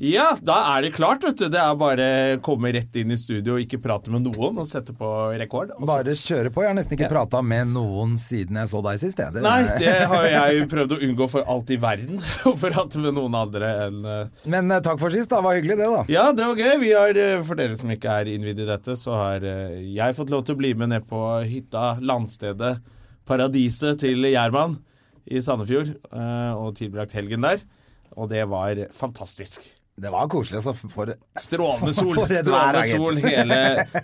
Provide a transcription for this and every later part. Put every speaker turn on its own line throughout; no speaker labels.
Ja, da er det klart, vet du. Det er bare å komme rett inn i studio og ikke prate med noen og sette på rekord. Og så-
Bare kjøre på. Jeg har nesten ikke prata med noen siden jeg så deg sist. jeg. Det-
Nei, det har jeg prøvd å unngå for alt i verden. Å prate med noen andre enn eh,
Men eh, takk for sist. da, Det var hyggelig, det, da.
Ja, det var gøy. Vi har, eh, for dere som ikke er innvidd i dette, så har eh, jeg fått lov til å bli med ned på hytta, landstedet, paradiset til Gjerman i Sandefjord, eh, og tilbrakt helgen der. Og det var fantastisk.
Det var koselig. Så for...
Strålende sol.
For et vær,
Strålende
gitt.
sol hele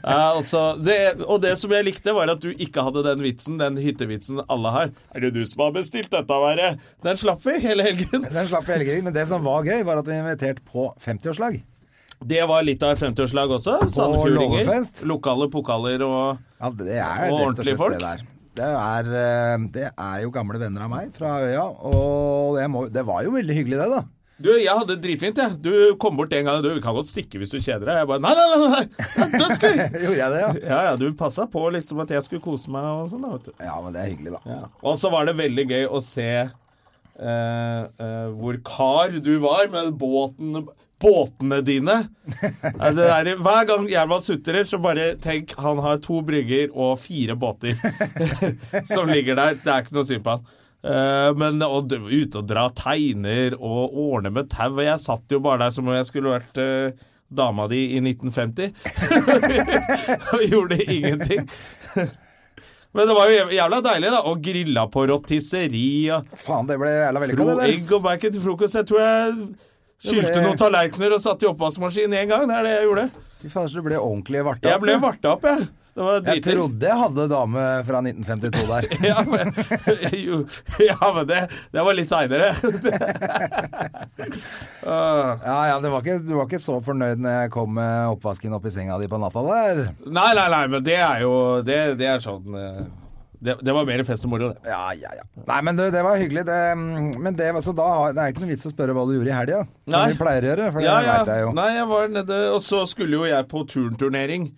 ja, altså, det, Og det som jeg likte, var at du ikke hadde den vitsen, den hyttevitsen alle har. Er det du som har bestilt dette været? Den slapp vi hele helgen.
Den slapp vi helgering, men det som var gøy, var at vi var invitert på 50-årslag.
Det var litt av et 50-årslag også. Sandefjordinger.
låvefest.
Lokale pokaler og
Ja, det er
Og
rett
ordentlige
slett
folk.
Det, der. Det, er, eh, det er jo gamle venner av meg fra øya, og jeg må, det var jo veldig hyggelig, det, da.
Du, jeg hadde det dritfint, jeg. Du kom bort en gang og du vi kan godt stikke hvis du kjeder deg. Jeg bare nei, nei, nei, nei. det er dødsgøy.
Gjorde jeg det, ja?
Ja, ja, du passa på liksom at jeg skulle kose meg og sånn, da, vet du.
Ja, men det er hyggelig, da.
Ja. Og så var det veldig gøy å se eh, eh, hvor kar du var med båten Båtene dine. Ja, Det der, hver gang Gjerman sutrer, så bare tenk han har to brygger og fire båter som ligger der. Det er ikke noe synd på han. Eh, men å d- ute og dra teiner og ordne med tau og Jeg satt jo bare der som om jeg skulle vært eh, dama di i 1950. og gjorde ingenting. Men det var jo jæv- jævla deilig, da. Og grilla på rotisseri og
Faen, det ble jævla vellykka,
fro
det der.
egg og bacon til frokost. Jeg tror jeg skylte
ble-
noen tallerkener og satt i oppvaskmaskinen én gang. Det er det jeg gjorde.
Fy faen, så du ble ordentlig varta.
Jeg ble varta opp, jeg. Det var
Jeg
driter.
trodde jeg hadde dame fra 1952 der.
Ja, men, jo, ja, men det, det var litt seinere. Ah.
Ja, ja, det var ikke, Du var ikke så fornøyd når jeg kom med oppvasken opp i senga di på natta der?
Nei, nei, nei, men det er jo Det, det er sånn eh, det, det var mer fest og moro, det.
Ja, ja, ja. Nei, men du, det var hyggelig. Det, men det, var- så da, har- det er ikke noe vits å spørre hva du gjorde i helga. Som
Nei.
vi pleier å gjøre. For
Ja,
det
ja.
vet jeg jo.
Nei, jeg var nede Og så skulle jo jeg på turnturnering.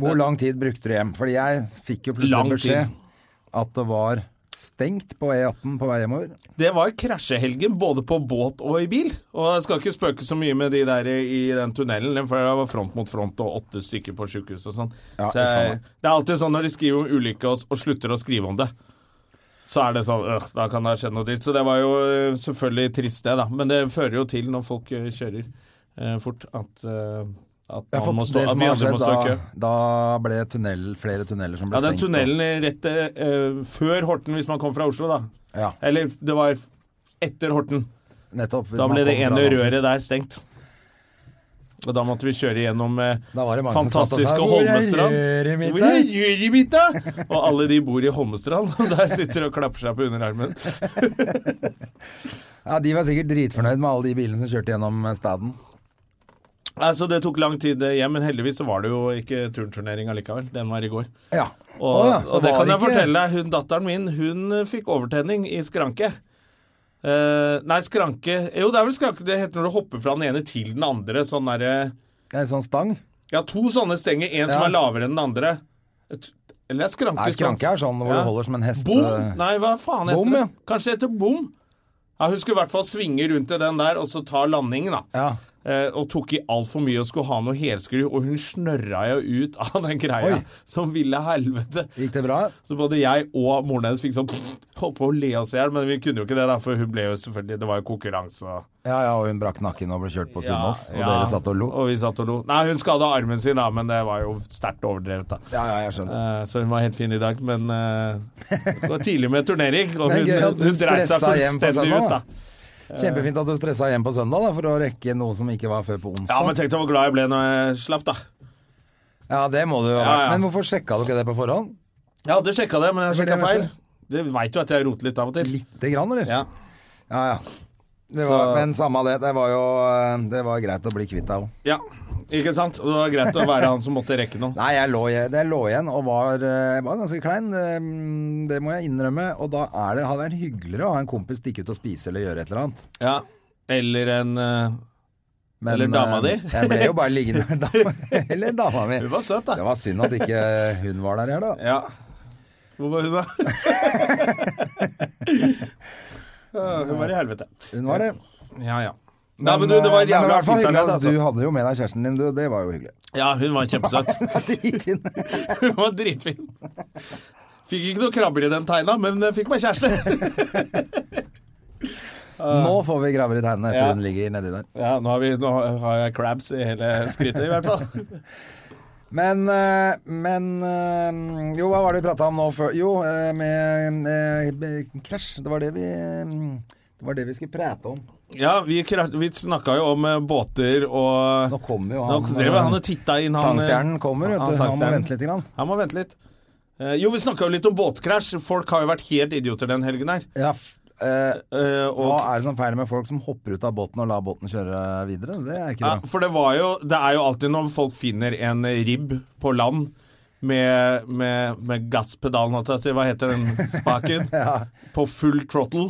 Hvor lang tid brukte du hjem? Fordi jeg fikk jo plutselig
Lang
beskjed
tid.
at det var stengt på E18 på vei hjemover.
Det var krasjehelgen både på båt og i bil. Og jeg skal ikke spøke så mye med de der i i den tunnelen, for det var front mot front og åtte stykker på sjukehus og sånn.
Ja,
så jeg, det er alltid sånn når de skriver om ulykke og, og slutter å skrive om det. Så er det sånn øh, Da kan det ha skjedd noe dritt. Så det var jo øh, selvfølgelig trist, det, da. Men det fører jo til, når folk øh, kjører øh, fort, at, øh, at,
Jeg har
man må
fått
stå,
det
at
som
vi
har
andre må
skjedd
stå i kø.
da, da ble tunnel, flere tunneler som ble
Ja, den
stengt.
tunnelen er rett øh, før Horten, hvis man kom fra Oslo, da.
Ja,
Eller det var etter Horten.
nettopp.
Da
Man
ble det
kom fra
ene
Horten.
røret der stengt. Og da måtte vi kjøre gjennom eh,
Da var det mange som satt og sa,
fantastiske
"Hvor er
Holmestrand.
røret mitt,
Hvor er røret mitt, da?" Og alle de bor i Holmestrand, og der sitter og klapper seg på underarmen.
Ja, De var sikkert dritfornøyd med alle de bilene som kjørte gjennom staden.
Altså, det tok lang tid eh, hjem, men heldigvis så var det jo ikke turnturnering allikevel. Den var i går.
Ja.
Og,
Å ja,
og det
var
kan jeg
ikke-
fortelle deg, hun datteren min, hun eh, fikk overtenning i skranke. Eh, nei, skranke Jo, det er vel skranke det heter når du hopper fra den ene til den andre. Sånn derre
Det er En sånn stang.
Ja, to sånne stenger. En som
Ja.
er lavere enn den andre. Et- Eller det er skranke.
Nei, skranke er sånn hvor
Ja.
du holder som en hest.
Bom!
eh,
Nei, hva faen heter
Bom,
det?
ja.
Kanskje det heter bom? Ja, hun skulle i hvert fall svinge rundt til den der, og så ta landingen, da.
Ja.
Eh, og tok i altfor mye og skulle ha noe helskru, og hun snørra jo ut av den greia
Oi.
som ville helvete.
Gikk det bra?
Så både jeg og moren hennes fikk sånn holdt på å le oss i hjel, men vi kunne jo ikke det, da, for hun ble jo selvfølgelig Det var jo konkurranse og
Ja, ja, og hun brakk nakken og ble kjørt på Sunnaas, og
ja,
dere satt og lo.
Og vi satt og lo. Nei, hun skada armen sin, da, men det var jo sterkt overdrevet, da.
Ja, ja, jeg skjønner.
Eh, Så hun var helt fin i dag, men eh, det var tidlig med turnering. Og
Men
hun,
gøy at du
hun dreit seg
stressa hjem på
fullstendig
søndag,
ut,
da.
da.
Kjempefint at du stressa hjem på søndag da, for å rekke noe som ikke var før på onsdag.
Ja, men tenk deg hvor glad jeg ble når jeg slapp, da.
Ja, det må du jo ha vært.
Ja, ja.
Men hvorfor sjekka du ikke det på forhånd?
Jeg hadde sjekka det, men jeg
Fordi
sjekka
jeg vet
feil.
det.
Du veit jo at jeg roter litt av og til.
Lite grann, eller?
Ja.
ja. ja. Det var,
Så-
men samme av det, det var jo eh, det var greit å bli kvitt deg òg.
Ja, ikke sant? Og det var greit å være han som måtte rekke noe.
Nei, jeg lå, jeg, jeg lå igjen og var, eh, jeg var ganske klein. eh, Det må jeg innrømme. Og da er det, hadde det vært hyggeligere å ha en kompis stikke ut og spise eller gjøre et eller annet.
Ja. Eller en eh,
Men,
Eller dama
eh,
di.
jeg ble jo bare liggende. Dama, eller dama mi.
Hun var søt,
Det
da.
var synd at ikke hun var der her, da.
Ja. Hvor var hun, da? Ja, hun var i helvete.
Hun var det.
Ja, ja. Nei, men du, det var
eh, men i
jævla
hvert fall
fint der
hyggelig
nede,
at
altså.
Du hadde jo med deg kjæresten din, du. Det var jo hyggelig.
Ja, hun var kjempesøt. Hun var dritfin. Fikk ikke noe krabber i den tegna, men jeg fikk meg kjæreste.
Nå får vi graver i teinene etter
Ja.
hun ligger nedi der.
Ja, nå har, vi, nå har jeg crabs i hele skrittet, i hvert fall.
Men, eh, men eh, Jo, hva var det vi prata om nå før? Jo, eh, med, med, med krasj. Det var det vi eh, Det var det vi skulle prate om.
Ja, vi, kra- vi snakka jo om eh, båter og
Nå kommer jo
Nå
han.
drev han og titta inn han eh,
Sangstjernen kommer, vet
han
du. Han må
sangstjernen.
vente litt. Grann.
Han må vente litt. Eh, jo, vi snakka jo litt om båtkrasj. Folk har jo vært helt idioter den helgen her.
Ja, f- eh,
Eh,
hva
og,
er det som feiler med folk som hopper ut av båten og lar båten kjøre videre? Det er ikke
ja,
bra.
for det var jo Det er jo alltid når folk finner en ribb på land med, med, med gasspedalen, holdt jeg på å si, hva heter den spaken? På full throttle.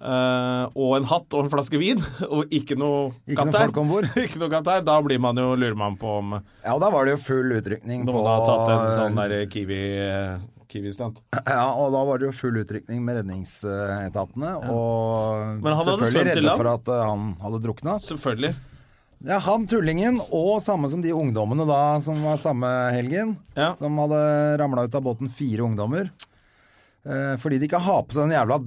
eh, og en hatt og en flaske vin, og ikke noe
Ikke noen
kaptein.
folk om bord.
Ikke noe kaptein. Da blir man jo, lurer man på om
Ja, og da var det jo full utrykning på
Noen har tatt en sånn der kiwi, eh, kiwi-stunt.
Ja, og da var det jo full utrykning med redningsetatene. Og
Men han hadde
selvfølgelig
svømt til
redde
land.
for at eh, han hadde drukna.
Selvfølgelig.
Ja, han tullingen, og samme som de ungdommene da som var samme helgen,
Ja.
som hadde ramla ut av båten fire ungdommer. Eh, fordi de ikke har på seg den jævla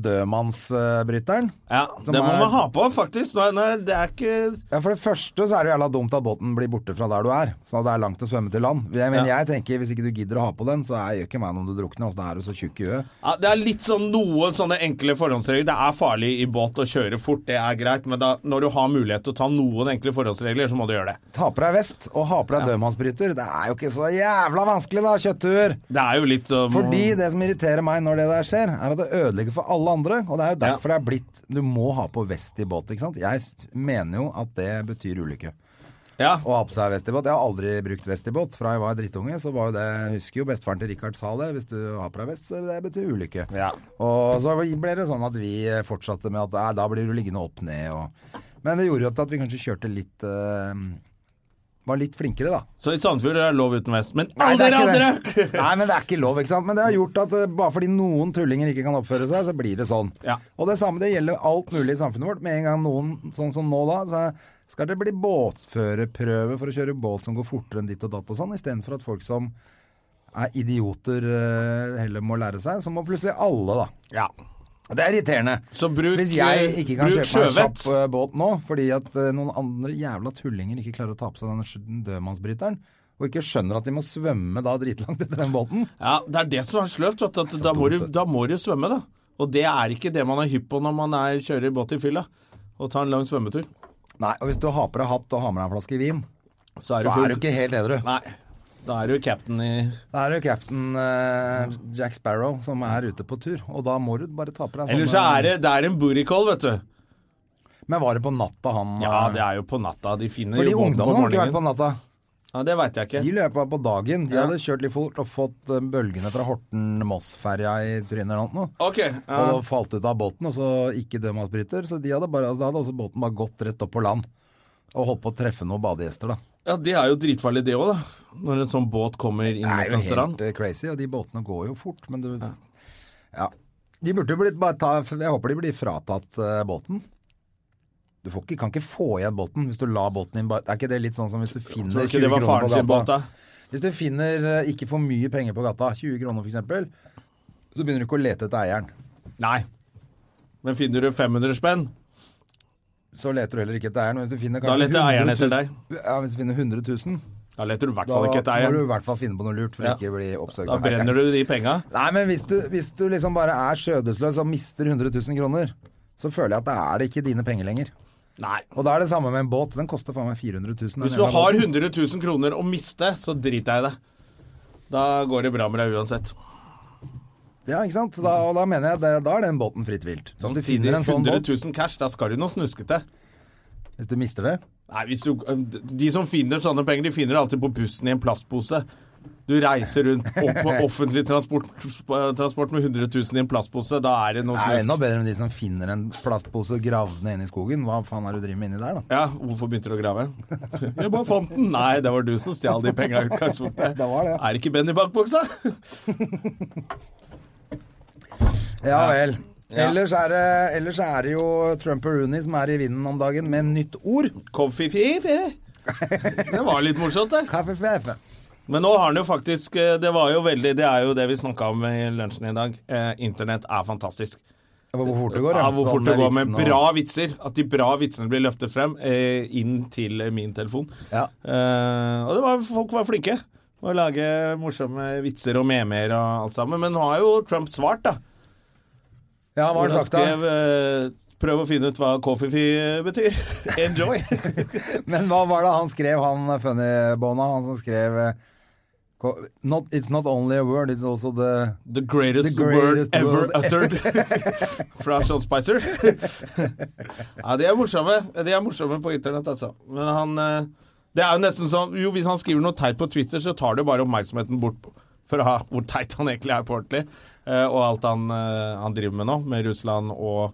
dødmannsbryteren.
Ja,
Som
det må
er-
man ha på, faktisk. Nei, nei, det er ikke
Ja, For det første så er det jævla dumt at båten blir borte fra der du er, så det er langt å svømme til land. Jeg, men
Ja.
jeg tenker, hvis ikke du gidder å ha på den, så er- gjør ikke meg noe om du drukner, altså da er du så tjukk i huet.
ja, Det er litt sånn noen sånne enkle forhåndsregler. Det er farlig i båt å kjøre fort, det er greit, men da, når du har mulighet til å ta noen enkle forhåndsregler, så må du gjøre det.
Ta på deg vest og ha på deg dødmannsbryter, det er jo ikke så jævla vanskelig da, kjøtthuer.
Det er jo litt sånn- som
Fordi det som irriterer meg når det der skjer, er at det ødelegger for alle andre. Og det er jo derfor det er blitt Du må ha på vest i båt, ikke sant? Jeg s- mener jo at det betyr ulykke.
Ja,
Å ha på seg vest i båt. Jeg har aldri brukt vest i båt. Fra jeg var drittunge, så var jo det Jeg husker jo bestefaren til Richard sa det. Hvis du har på deg vest, så det betyr ulykke.
Ja.
Og så ble det sånn at vi fortsatte med at nei, da blir du liggende opp ned og Men det gjorde jo at vi kanskje kjørte litt eh, Var litt flinkere, da.
så i Sandefjord er det lov uten vest. Men
Nei,
alle
det er
dere andre!
ikke det. Nei, men det er ikke lov, ikke sant? Men det har gjort at eh, bare fordi noen tullinger ikke kan oppføre seg, så blir det sånn.
Ja.
Og det samme det gjelder alt mulig i samfunnet vårt. Med en gang noen, sånn som nå da, så skal det bli båtførerprøve for å kjøre båt som går fortere enn ditt og datt og sånn, istedenfor at folk som er idioter eh, heller må lære seg, så må plutselig alle, da.
Ja.
Det er irriterende.
Så bruk, eh,
Hvis jeg ikke kan
bruk
kjøpe meg en
sjøvett.
kjapp eh, båt nå, fordi at eh, noen andre jævla tullinger ikke klarer å ta på seg denne sj- dødmannsbryteren, og ikke skjønner at de må svømme da dritlangt etter den båten
Ja, det er det som er sløvt. vet du, At da, må du, da må du svømme, da. Og det er ikke det man er hypp på når man er, kjører båt i fylla og tar en lang svømmetur.
Nei, og hvis du har på deg hatt og har med deg en flaske vin,
Så
så er du ikke helt edru.
Nei. Da er du cap'n i
Da er det jo cap'n eh, Jack Sparrow som er ute på tur, og da må du bare ta på deg
Eller så er det, det er en booty call, vet du.
Men var det på natta han
Ja, det er jo på natta. De finner
Fordi
jo båten på
ungdommene har ikke vært på
morgenen.
natta.
Ja, det veit jeg
De
ikke.
løp bare på dagen. De
Ja.
hadde kjørt litt fort og fått eh, bølgene fra Horten-Moss-ferja i trynet eller noe.
Ok, ja.
Og da falt ut av båten, og så ikke dødmannsbryter. Så de hadde bare, altså, da hadde også båten bare gått rett opp på land. Og holdt på å treffe noen badegjester, da.
ja, det er jo dritfarlig det òg, da. Når en sånn båt kommer inn
Det er
mot
jo
en strand.
helt eh, crazy, og de båtene går jo fort, men du Ja. De burde jo blitt bare ta Jeg håper de blir fratatt eh, båten. Du får ikke, kan ikke få igjen båten hvis du lar båten din bare Er ikke det litt sånn som hvis du finner
Tror du
20
ikke det var
kroner
faren
på
sin båt,
gata?
da?
Hvis du finner eh, ikke for mye penger på gata, 20 kroner f.eks., så begynner du ikke å lete etter eieren.
Nei. Men finner du 500 spenn,
Så leter du heller ikke etter eieren. men Hvis du finner
da
kanskje
leter eieren
100 000
etter deg.
Ja, Hvis du finner 100 000,
Da leter du i hvert
da
fall ikke etter
må du i
eieren.
hvert fall finne på noe lurt for
Ja.
ikke å bli oppsøkt
Da brenner du de penga.
Nei, men hvis du, hvis du liksom bare er skjødesløs og mister 100 000 kroner, så føler jeg at da er det ikke dine penger lenger.
Nei.
Og da er det samme med en båt. Den koster faen meg 400 000. den
Hvis du
jævla
har
båten.
100 000 kroner å miste, så driter jeg i det. Da går det bra med deg uansett.
Ja, ikke sant? Da, og da mener jeg det, da er den båten fritt vilt. Så Hvis du finner en sånn
100
båt,
000 cash, da skal du noe snuskete.
hvis du mister det
Nei, hvis du, De som finner sånne penger, de finner det alltid på bussen i en plastpose. Du reiser rundt opp på offentlig transport, øh, transport med 100 000 i en plastpose, da er det noe
Det er enda
snusk.
bedre enn de som finner en plastpose gravd ned inne i skogen. Hva faen er det du driver med inni der, da?
Ja, Hvorfor begynte du å grave? Jeg bare fant den! Nei, det var du som stjal de penga i utgangspunktet.
Det var det.
Er det ikke Benny bak buksa?
Ja vel. Ellers, er det, ellers er det jo Trump og Rooney som er i vinden om dagen med nytt ord.
Koffi-fi-fi. Det var litt morsomt, det.
Kaffefefe.
Men nå har han jo faktisk eh, Det var jo veldig Det er jo det vi snakka om i lunsjen i dag. Eh, internett er fantastisk.
Hvor fort det går, Sånn
ja, hvor fort det går med
vitsene
bra
og-
vitser. At de bra vitsene blir løftet frem eh, inn til eh, min telefon.
Ja.
Eh, og det var, folk var flinke på å lage morsomme vitser og memer og alt sammen. Men nå har jo Trump svart, da.
Ja, hva har han
Hvor
sagt da?
skrev eh, Prøv å finne ut hva koffefi betyr. Enjoy!
Men hva var det han skrev, han funnybona? Han som skrev eh, ko- not, It's not only a word, it's also the
The greatest,
The
word
greatest
ever
word.
uttered fra Sean Spicer. ja, de er morsomme. De er morsomme på internett, altså. Men han eh, Det er jo nesten sånn Jo, hvis han skriver noe teit på Twitter, så tar det jo bare oppmerksomheten bort fra hvor teit han egentlig er på ordentlig. eh, og alt han, eh, han driver med nå, med Russland og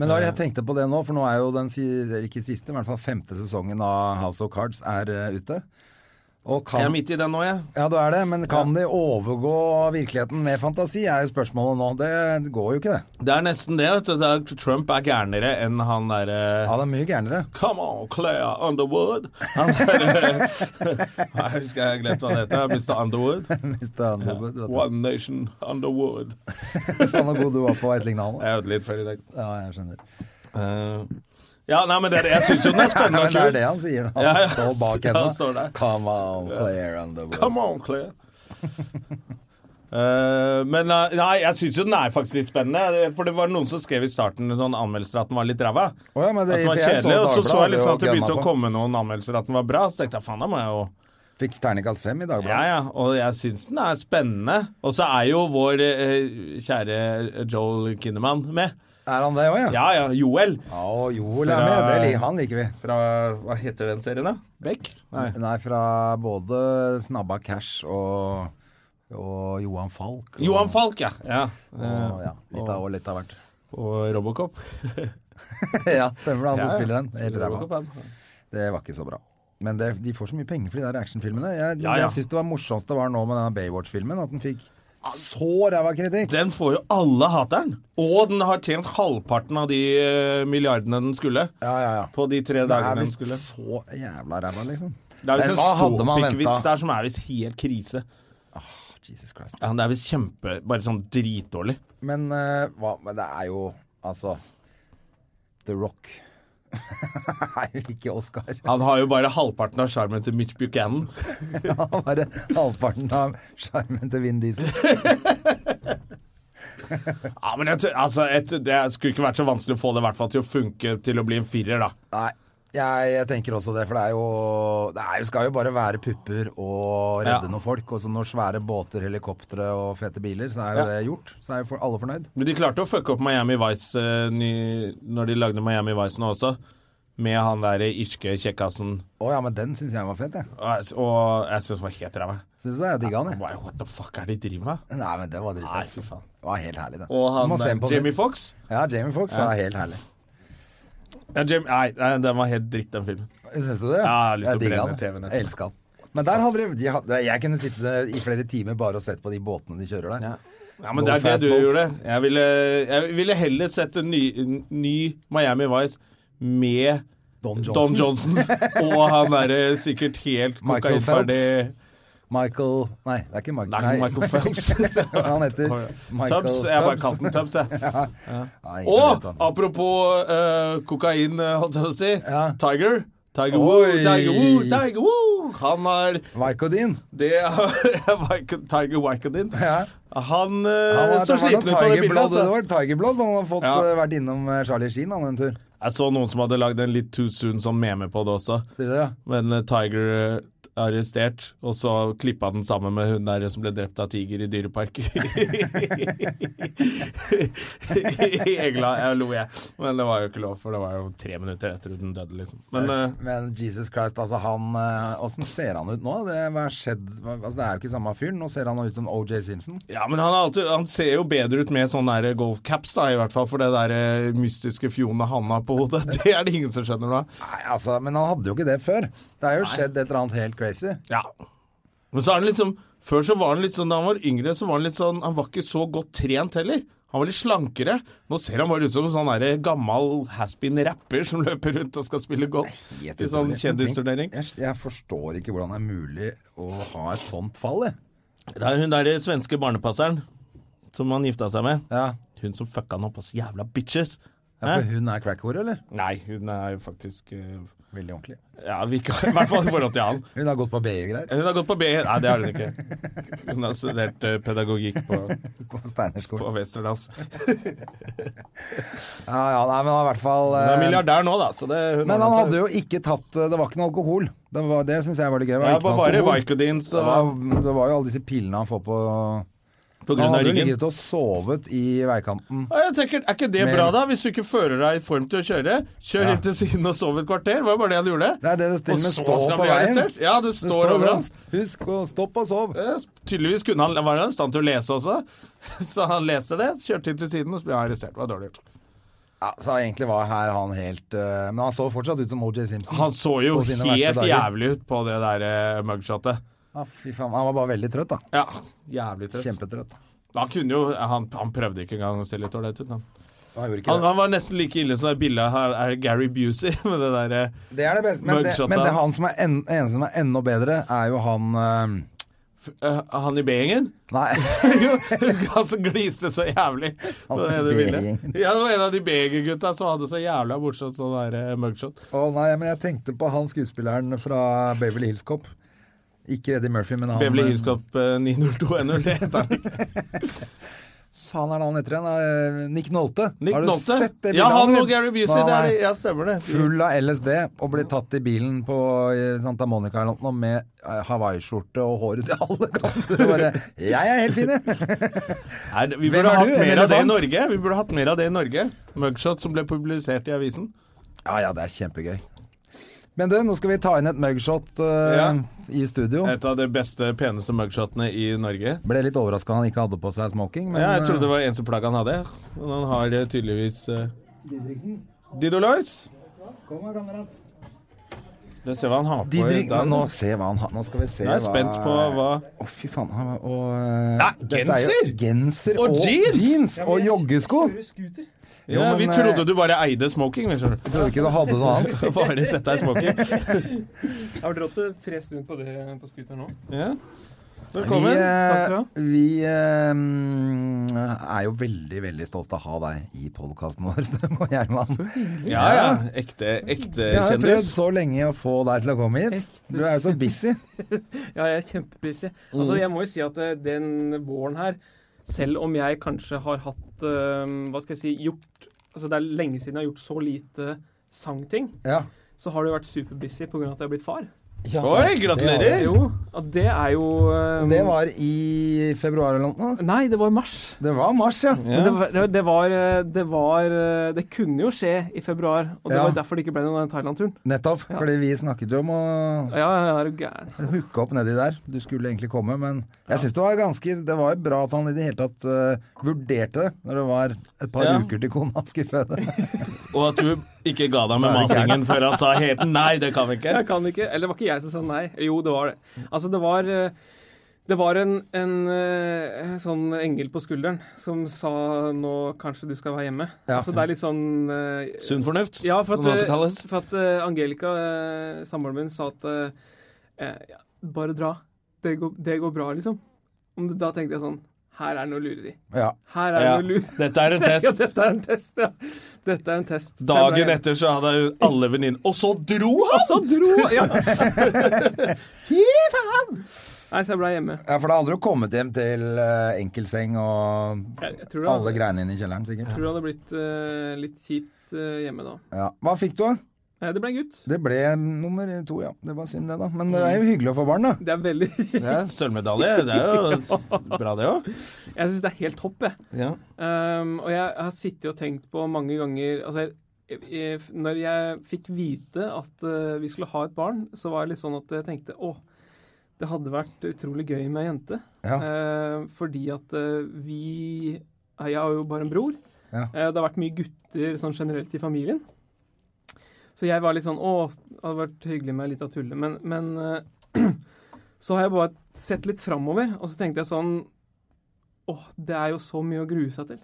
Men da, jeg tenkte på det nå, for nå er jo den si- eller ikke siste, men i hvert fall femte sesongen av House of Cards er eh, ute. Og
Jeg
kan,
er midt i den nå, jeg.
Ja, det er det, men kan de overgå virkeligheten med fantasi, er jo spørsmålet nå. Det går jo ikke, det.
Det er nesten det. vet du. Det er, Trump er gærnere enn han derre
Ja, det er mye gærnere.
Come on, Claire Underwood. Han der, eh, jeg husker jeg har glemt hva han heter. Mr. Underwood.
Hvis det er noe, du vet det.
One Nation Underwood.
Sånn og god du var på et lignende.
Jeg hørte litt feil i dag.
Ja, jeg skjønner.
Eh, ja, nei, men det, er- jeg syns jo den er
Nei,
spennende
men
og
det er det
kul.
han sier når han
Ja, ja.
står bak henne.
Han står der.
Come on, player on the world.
Come on, Claire. Eh, men eh, nei, jeg syns jo den er faktisk litt spennende. For det var noen som skrev i starten sånn anmeldelser at den var litt ræva.
Å ja, men
At
det-
den var
for jeg
kjedelig. Og så
Dagbladet
så jeg liksom at det
og
begynte
gønna
å
på.
komme noen anmeldelser at den var bra. Så tenkte jeg faen, da må jeg jo
Fikk terningkast fem i
Ja,
Dagbladet.
ja, og jeg syns den er spennende. Og så er jo vår eh, kjære Joel Kinnaman med.
Er han det òg, ja?
Ja ja, Joel.
Ja, og Joel er med. Det, lik- han liker vi.
Fra Hva heter den serien, da? Beck? Nei.
Nei, fra både Snabba Cash og, og Johan Falk. Og,
Johan Falk, ja. ja.
Og, ja, litt av, og litt av hvert.
Og Robocop.
ja, stemmer det. Han som
Ja, ja.
spiller den. Helt ræva.
Robocop, han.
Det var ikke så bra. Men det, de får så mye penger for de der actionfilmene. Jeg,
Ja, ja.
jeg syns det var morsomst det var nå med denne Baywatch-filmen, at den fikk så ræva kritikk.
Den får jo alle hateren. Og den har tjent halvparten av de eh, milliardene den skulle.
Ja, ja, ja.
På de tre
Det er
dagene den
visst
skulle.
så jævla ræva, liksom.
Det er visst
Men
en
hva hadde man
ståpikkvits
ventet?
der som er visst helt krise.
Jesus Christ.
Ja, det er visst kjempe Bare sånn dritdårlig.
Men, eh, hva, men det er jo Altså The Rock. Nei, ikke Oscar.
Han har jo bare halvparten av sjarmen til Mitch Buchanan.
Han var halvparten av skjermen til Vin Diesel.
Ja, men jeg, tror- altså, jeg, tror- Det skulle ikke vært så vanskelig å få det i hvert fall til å funke til å bli en firer, da.
Nei, jeg, jeg tenker også det, for det er jo Det er, jo- skal jo bare være pupper og redde
Ja.
noen folk. Og så når svære båter, helikoptre og fete biler, så er jo
Ja.
det gjort. Så er jo for, alle fornøyd.
Men de klarte å fucke opp Miami Vice eh, ny, når de lagde Miami Vice nå også. Med han der irske kjekkasen.
Å ja, men den syns jeg var fet, jeg.
Og jeg- Og jeg syns han var helt ræva.
Syns du det? Jeg digga
Jeg
den, jeg.
bare, What the fuck er det de driver med?
Nei, men det var
Nei,
dritfett.
fy faen.
Det var helt herlig, det.
Og
Du må se den
han
på
Jamie
nytt.
Fox?
Ja, Jamie Fox var helt herlig.
Ja, Jamie, nei, nei, den var helt dritt, den filmen.
Syns du det?
Ja, jeg har lyst til å
digga
brenne
den.
TV-en etterpå.
Jeg elsker den. Men der hadde de, de hadde, jeg kunne sitte i flere timer bare og sett på de båtene de kjører der.
Ja, men
No
det er det
fat
du
boats.
gjorde. Jeg ville, jeg ville heller sett en ny, en ny Miami Vice med
Don Johnson.
Don Johnson og han derre sikkert helt
Michael
kokainferdig
Michael Nei, det er ikke Michael.
Nei, Michael Phelps.
Han heter Michael
Tubbs. Jeg bare
Tubbs.
kalte den Tubbs, jeg.
Nei, ikke
Og
vet han.
apropos eh, kokain, eh, holdt jeg på å si.
Ja.
Tiger. Tiger Woo,
Oi.
Tiger Woo, Tiger Woo. Han har
Michael Dean.
det er Tiger Wycondin.
Ja.
Han, eh,
Han var,
så
det var noe
sliten ut på det
Tiger
bildet.
Blood, det
Altså.
var Tiger Blood. Han har fått,
Ja.
eh, vært innom eh, Charlie Sheen han en tur.
Jeg så noen som hadde lagd en litt too soon sånn meme på det også.
Sier dere?
Men eh, Tiger eh, arrestert, og så klippa den sammen med hun der som ble drept av tiger i dyrepark. I England. Jeg lo, jeg. Men det var jo ikke lov, for det var jo tre minutter etter at hun døde, liksom. Men eh,
Men Jesus Christ, altså han eh, Åssen ser han ut nå? Det, hva har skjedd? Hva- Altså, det er jo ikke samme fyren. Nå ser han ut som OJ Simpson.
Ja, men han, er alltid, han ser jo bedre ut med sånne der golfcaps, da, i hvert fall. For det der eh, mystiske fjonet han har på hodet, det er det ingen som skjønner nå.
Nei, altså, Men han hadde jo ikke det før. Det er jo skjedd et eller annet helt crazy.
Ja. Men så er han liksom Før så var han litt sånn, da han var yngre, så var han litt sånn Han var ikke så godt trent heller. Han var litt slankere. Nå ser han bare ut som en sånn der gammel has-been-rapper som løper rundt og skal spille golf.
Helt
I sånn
utrolig.
kjendisturnering.
Jeg, jeg forstår ikke hvordan det er mulig å ha et sånt fall, jeg.
Det er hun derre svenske barnepasseren som han gifta seg med.
Ja.
Hun som fucka han opp, ass. Jævla bitches. Hæ?
Ja, for hun er crack-hore, eller?
Nei, hun er jo faktisk eh,
Veldig ordentlig.
Ja, vikar. I hvert fall i forhold til han.
Hun har gått på BI og greier.
Hun har gått på B... Nei, det har hun ikke. Hun har studert eh, pedagogikk på,
På Steinerskolen.
på Westerdals.
Ja, ja, nei, men han er i hvert fall
Hun er
eh,
milliardær altså. nå, da. Så det, hun
Men han hadde jo ikke tatt eh, Det var ikke noe alkohol. Det, var- det syns jeg var det gøy. Det var
ja,
ikke noe
Bare
alkohol.
Vicodins
det,
og
var, det var jo alle disse pillene han får på
På
Han
grunn av
hadde jo
ryggen.
ligget og sovet i veikanten.
Ja, jeg tenker, Er ikke det
Men-
bra, da? Hvis du ikke fører deg i form til å kjøre, kjør inn til siden og sov et kvarter. Det var bare det han gjorde.
Det er det det til og
og
med
så
står
skal
på
bli
veien.
arrestert. Ja, det
Det
står overalt.
Husk å stoppe og sove.
Eh, Tydeligvis kunne han, var han i stand til å lese også, så han leste det, kjørte inn til siden og så ble han arrestert. Det var dårlig gjort.
Ja, så egentlig var her han helt eh, Men han så fortsatt ut som OJ Simpson.
Han så jo
På sine verste
helt
dager.
jævlig ut på det der eh, mugshotet.
Ja, Ah, fy faen, han var bare veldig trøtt, da.
Ja, jævlig trøtt.
Kjempetrøtt.
Han kunne jo, eh, han, han prøvde ikke engang å se litt ålreit ut. Han.
Han gjorde ikke
Han, han var nesten like ille som det bildet her er Gary Busey med det eh, derre
det. Det er det beste. Men, det,
Mugshot
men det
hans.
han som er en, eneste som er enda bedre, er jo han eh,
Han i B-gjengen?
Nei.
Jo, Husker han som gliste så jævlig på
Han
det
i
ene bildet?
B-gjengen.
Ja, det var en av de B-gjengen-gutta som hadde så jævla morsomt sånn der eh, mugshot.
Å nei, men jeg tenkte på han skuespilleren fra Beverly Hills Cop. Ikke Eddie Murphy, men han
Beverly Hills Cop eh, 90210 heter han.
Faen er det han heter igjen? Eh, Nick Nolte.
Nick
har du
Nolte.
sett det bildet?
Ja, han
eller?
og Gary Busey.
Faen,
Det
han
er,
er
ja, stemmer det.
Full av LSD og ble tatt i bilen på eh, Santa Monica eller noe med eh, hawaiiskjorte og håret til alle kanter. Og bare 'Jeg er helt fin, jeg'.
Nei, vi
Hvem
burde
er
hatt
du?
mer av det
En
i
elefant?
Norge. Vi burde hatt mer av det i Norge. Mugshot som ble publisert i avisen.
Ja ja, det er kjempegøy. Men du, nå skal vi ta inn et mugshot eh,
Ja.
i studio.
Et av de beste, peneste mugshotene i Norge.
Ble litt overraska han ikke hadde på seg smoking, men eh,
Ja, jeg trodde det var eneste plagg han hadde, men han har eh, tydeligvis eh, Dido Lois. Du ser hva han har på.
eh, de
i
drik-
dag.
nå, se hva han har. nå skal vi se
Jeg er spent på hva
Å, fy faen. Han, var- og, eh,
Ja,
dette er jo
genser!
genser
Og
og,
jeans!
jeans! og joggesko! Jo,
ja,
men,
Vi
eh,
trodde du bare eide smoking. vi skjønner.
Jeg trodde ikke du hadde noe annet.
Bare sett deg i smoking.
Har dere hatt frest rundt på det på scooter nå?
Ja.
Vi,
Velkommen.
Takk skal
eh,
du ha.
vi eh, mm, er jo veldig, veldig stolte av å ha deg i podkasten vår, Støm og Gjerman.
Ja, ja. Ekte, ekte
Vi har jo prøvd
kjendis.
så lenge å få deg til å komme hit. Du er jo så busy.
Ja, jeg er kjempebusy. Altså, jeg må jo si at eh, den våren her, selv om jeg kanskje har hatt eh, Hva skal jeg si gjort, altså Det er lenge siden jeg har gjort så lite sangting.
Ja.
Så har det jo vært superbusy pga. at jeg har blitt far.
Oi, gratulerer!
Jo, og det er jo eh,
Det var i februar eller noe.
Nei, det var i mars.
Det var mars, ja.
Men det, var- det, det, var, eh, det var eh, Det kunne jo skje i februar, og det
Ja.
var derfor det ikke ble noen Thailand-turen.
Nettopp. Fordi vi snakket jo om å
Ja, ja, ja, er du gæren.
hooke opp nedi der. Du skulle egentlig komme, men jeg syns det var ganske Det var jo bra at han i det hele tatt eh, vurderte det når det var et par
Ja.
uker til kona skulle føde.
Og at du ikke ga deg med masingen før han sa helt nei, det kan vi ikke.
Jeg kan ikke. Eller det var ikke jeg som sa nei. Jo, det var det. Altså, det var eh, det var en, en eh, sånn engel på skulderen som sa nå kanskje du skal være hjemme.
Ja.
Så det er litt sånn eh,
Sunn fornuft,
Ja, for
som det
at,
også kalles.
eh, for at eh, Angelica, eh, samboeren min, sa at eh, eh, ja, bare dra. Det går, det går bra, liksom. Om det, da tenkte jeg sånn Her er det noe lureri.
Ja.
Her er det
Ja.
noe lureri.
Dette er en
Ja,
test.
dette er en test, ja. Dette er en test. Send deg
Dagen
hjem.
etter så hadde hun alle venninner Og så dro han!
Så dro Ja. Fy faen! Nei, så jeg ble hjemme.
Ja, for da hadde du kommet hjem til eh, enkelseng og
Jeg, jeg tror det
alle
hadde,
greiene inn i kjelleren, sikkert.
tror det hadde blitt eh, litt kjipt eh, hjemme da.
Ja. Hva fikk du?
Eh, Det ble en gutt.
Det ble nummer to, ja. Det var synd, det, da. Men det er
Mm.
jo hyggelig å få barn, da.
Det er veldig
Det er sølvmedalje. Det er jo s- bra, det òg.
Jeg syns det er helt topp, jeg. Um, og jeg har sittet og tenkt på mange ganger Altså, jeg, jeg, når jeg fikk vite at eh, vi skulle ha et barn, så var jeg litt sånn at jeg tenkte å, det hadde vært utrolig gøy med ei jente.
Ja.
Eh, fordi at eh, vi Jeg har jo bare en bror.
Ja.
Eh, det har vært mye gutter sånn generelt i familien. Så jeg var litt sånn Å, det hadde vært hyggelig med ei lita tulle. Men, men eh, så har jeg bare sett litt framover, og så tenkte jeg sånn Å, det er jo så mye å grue seg til.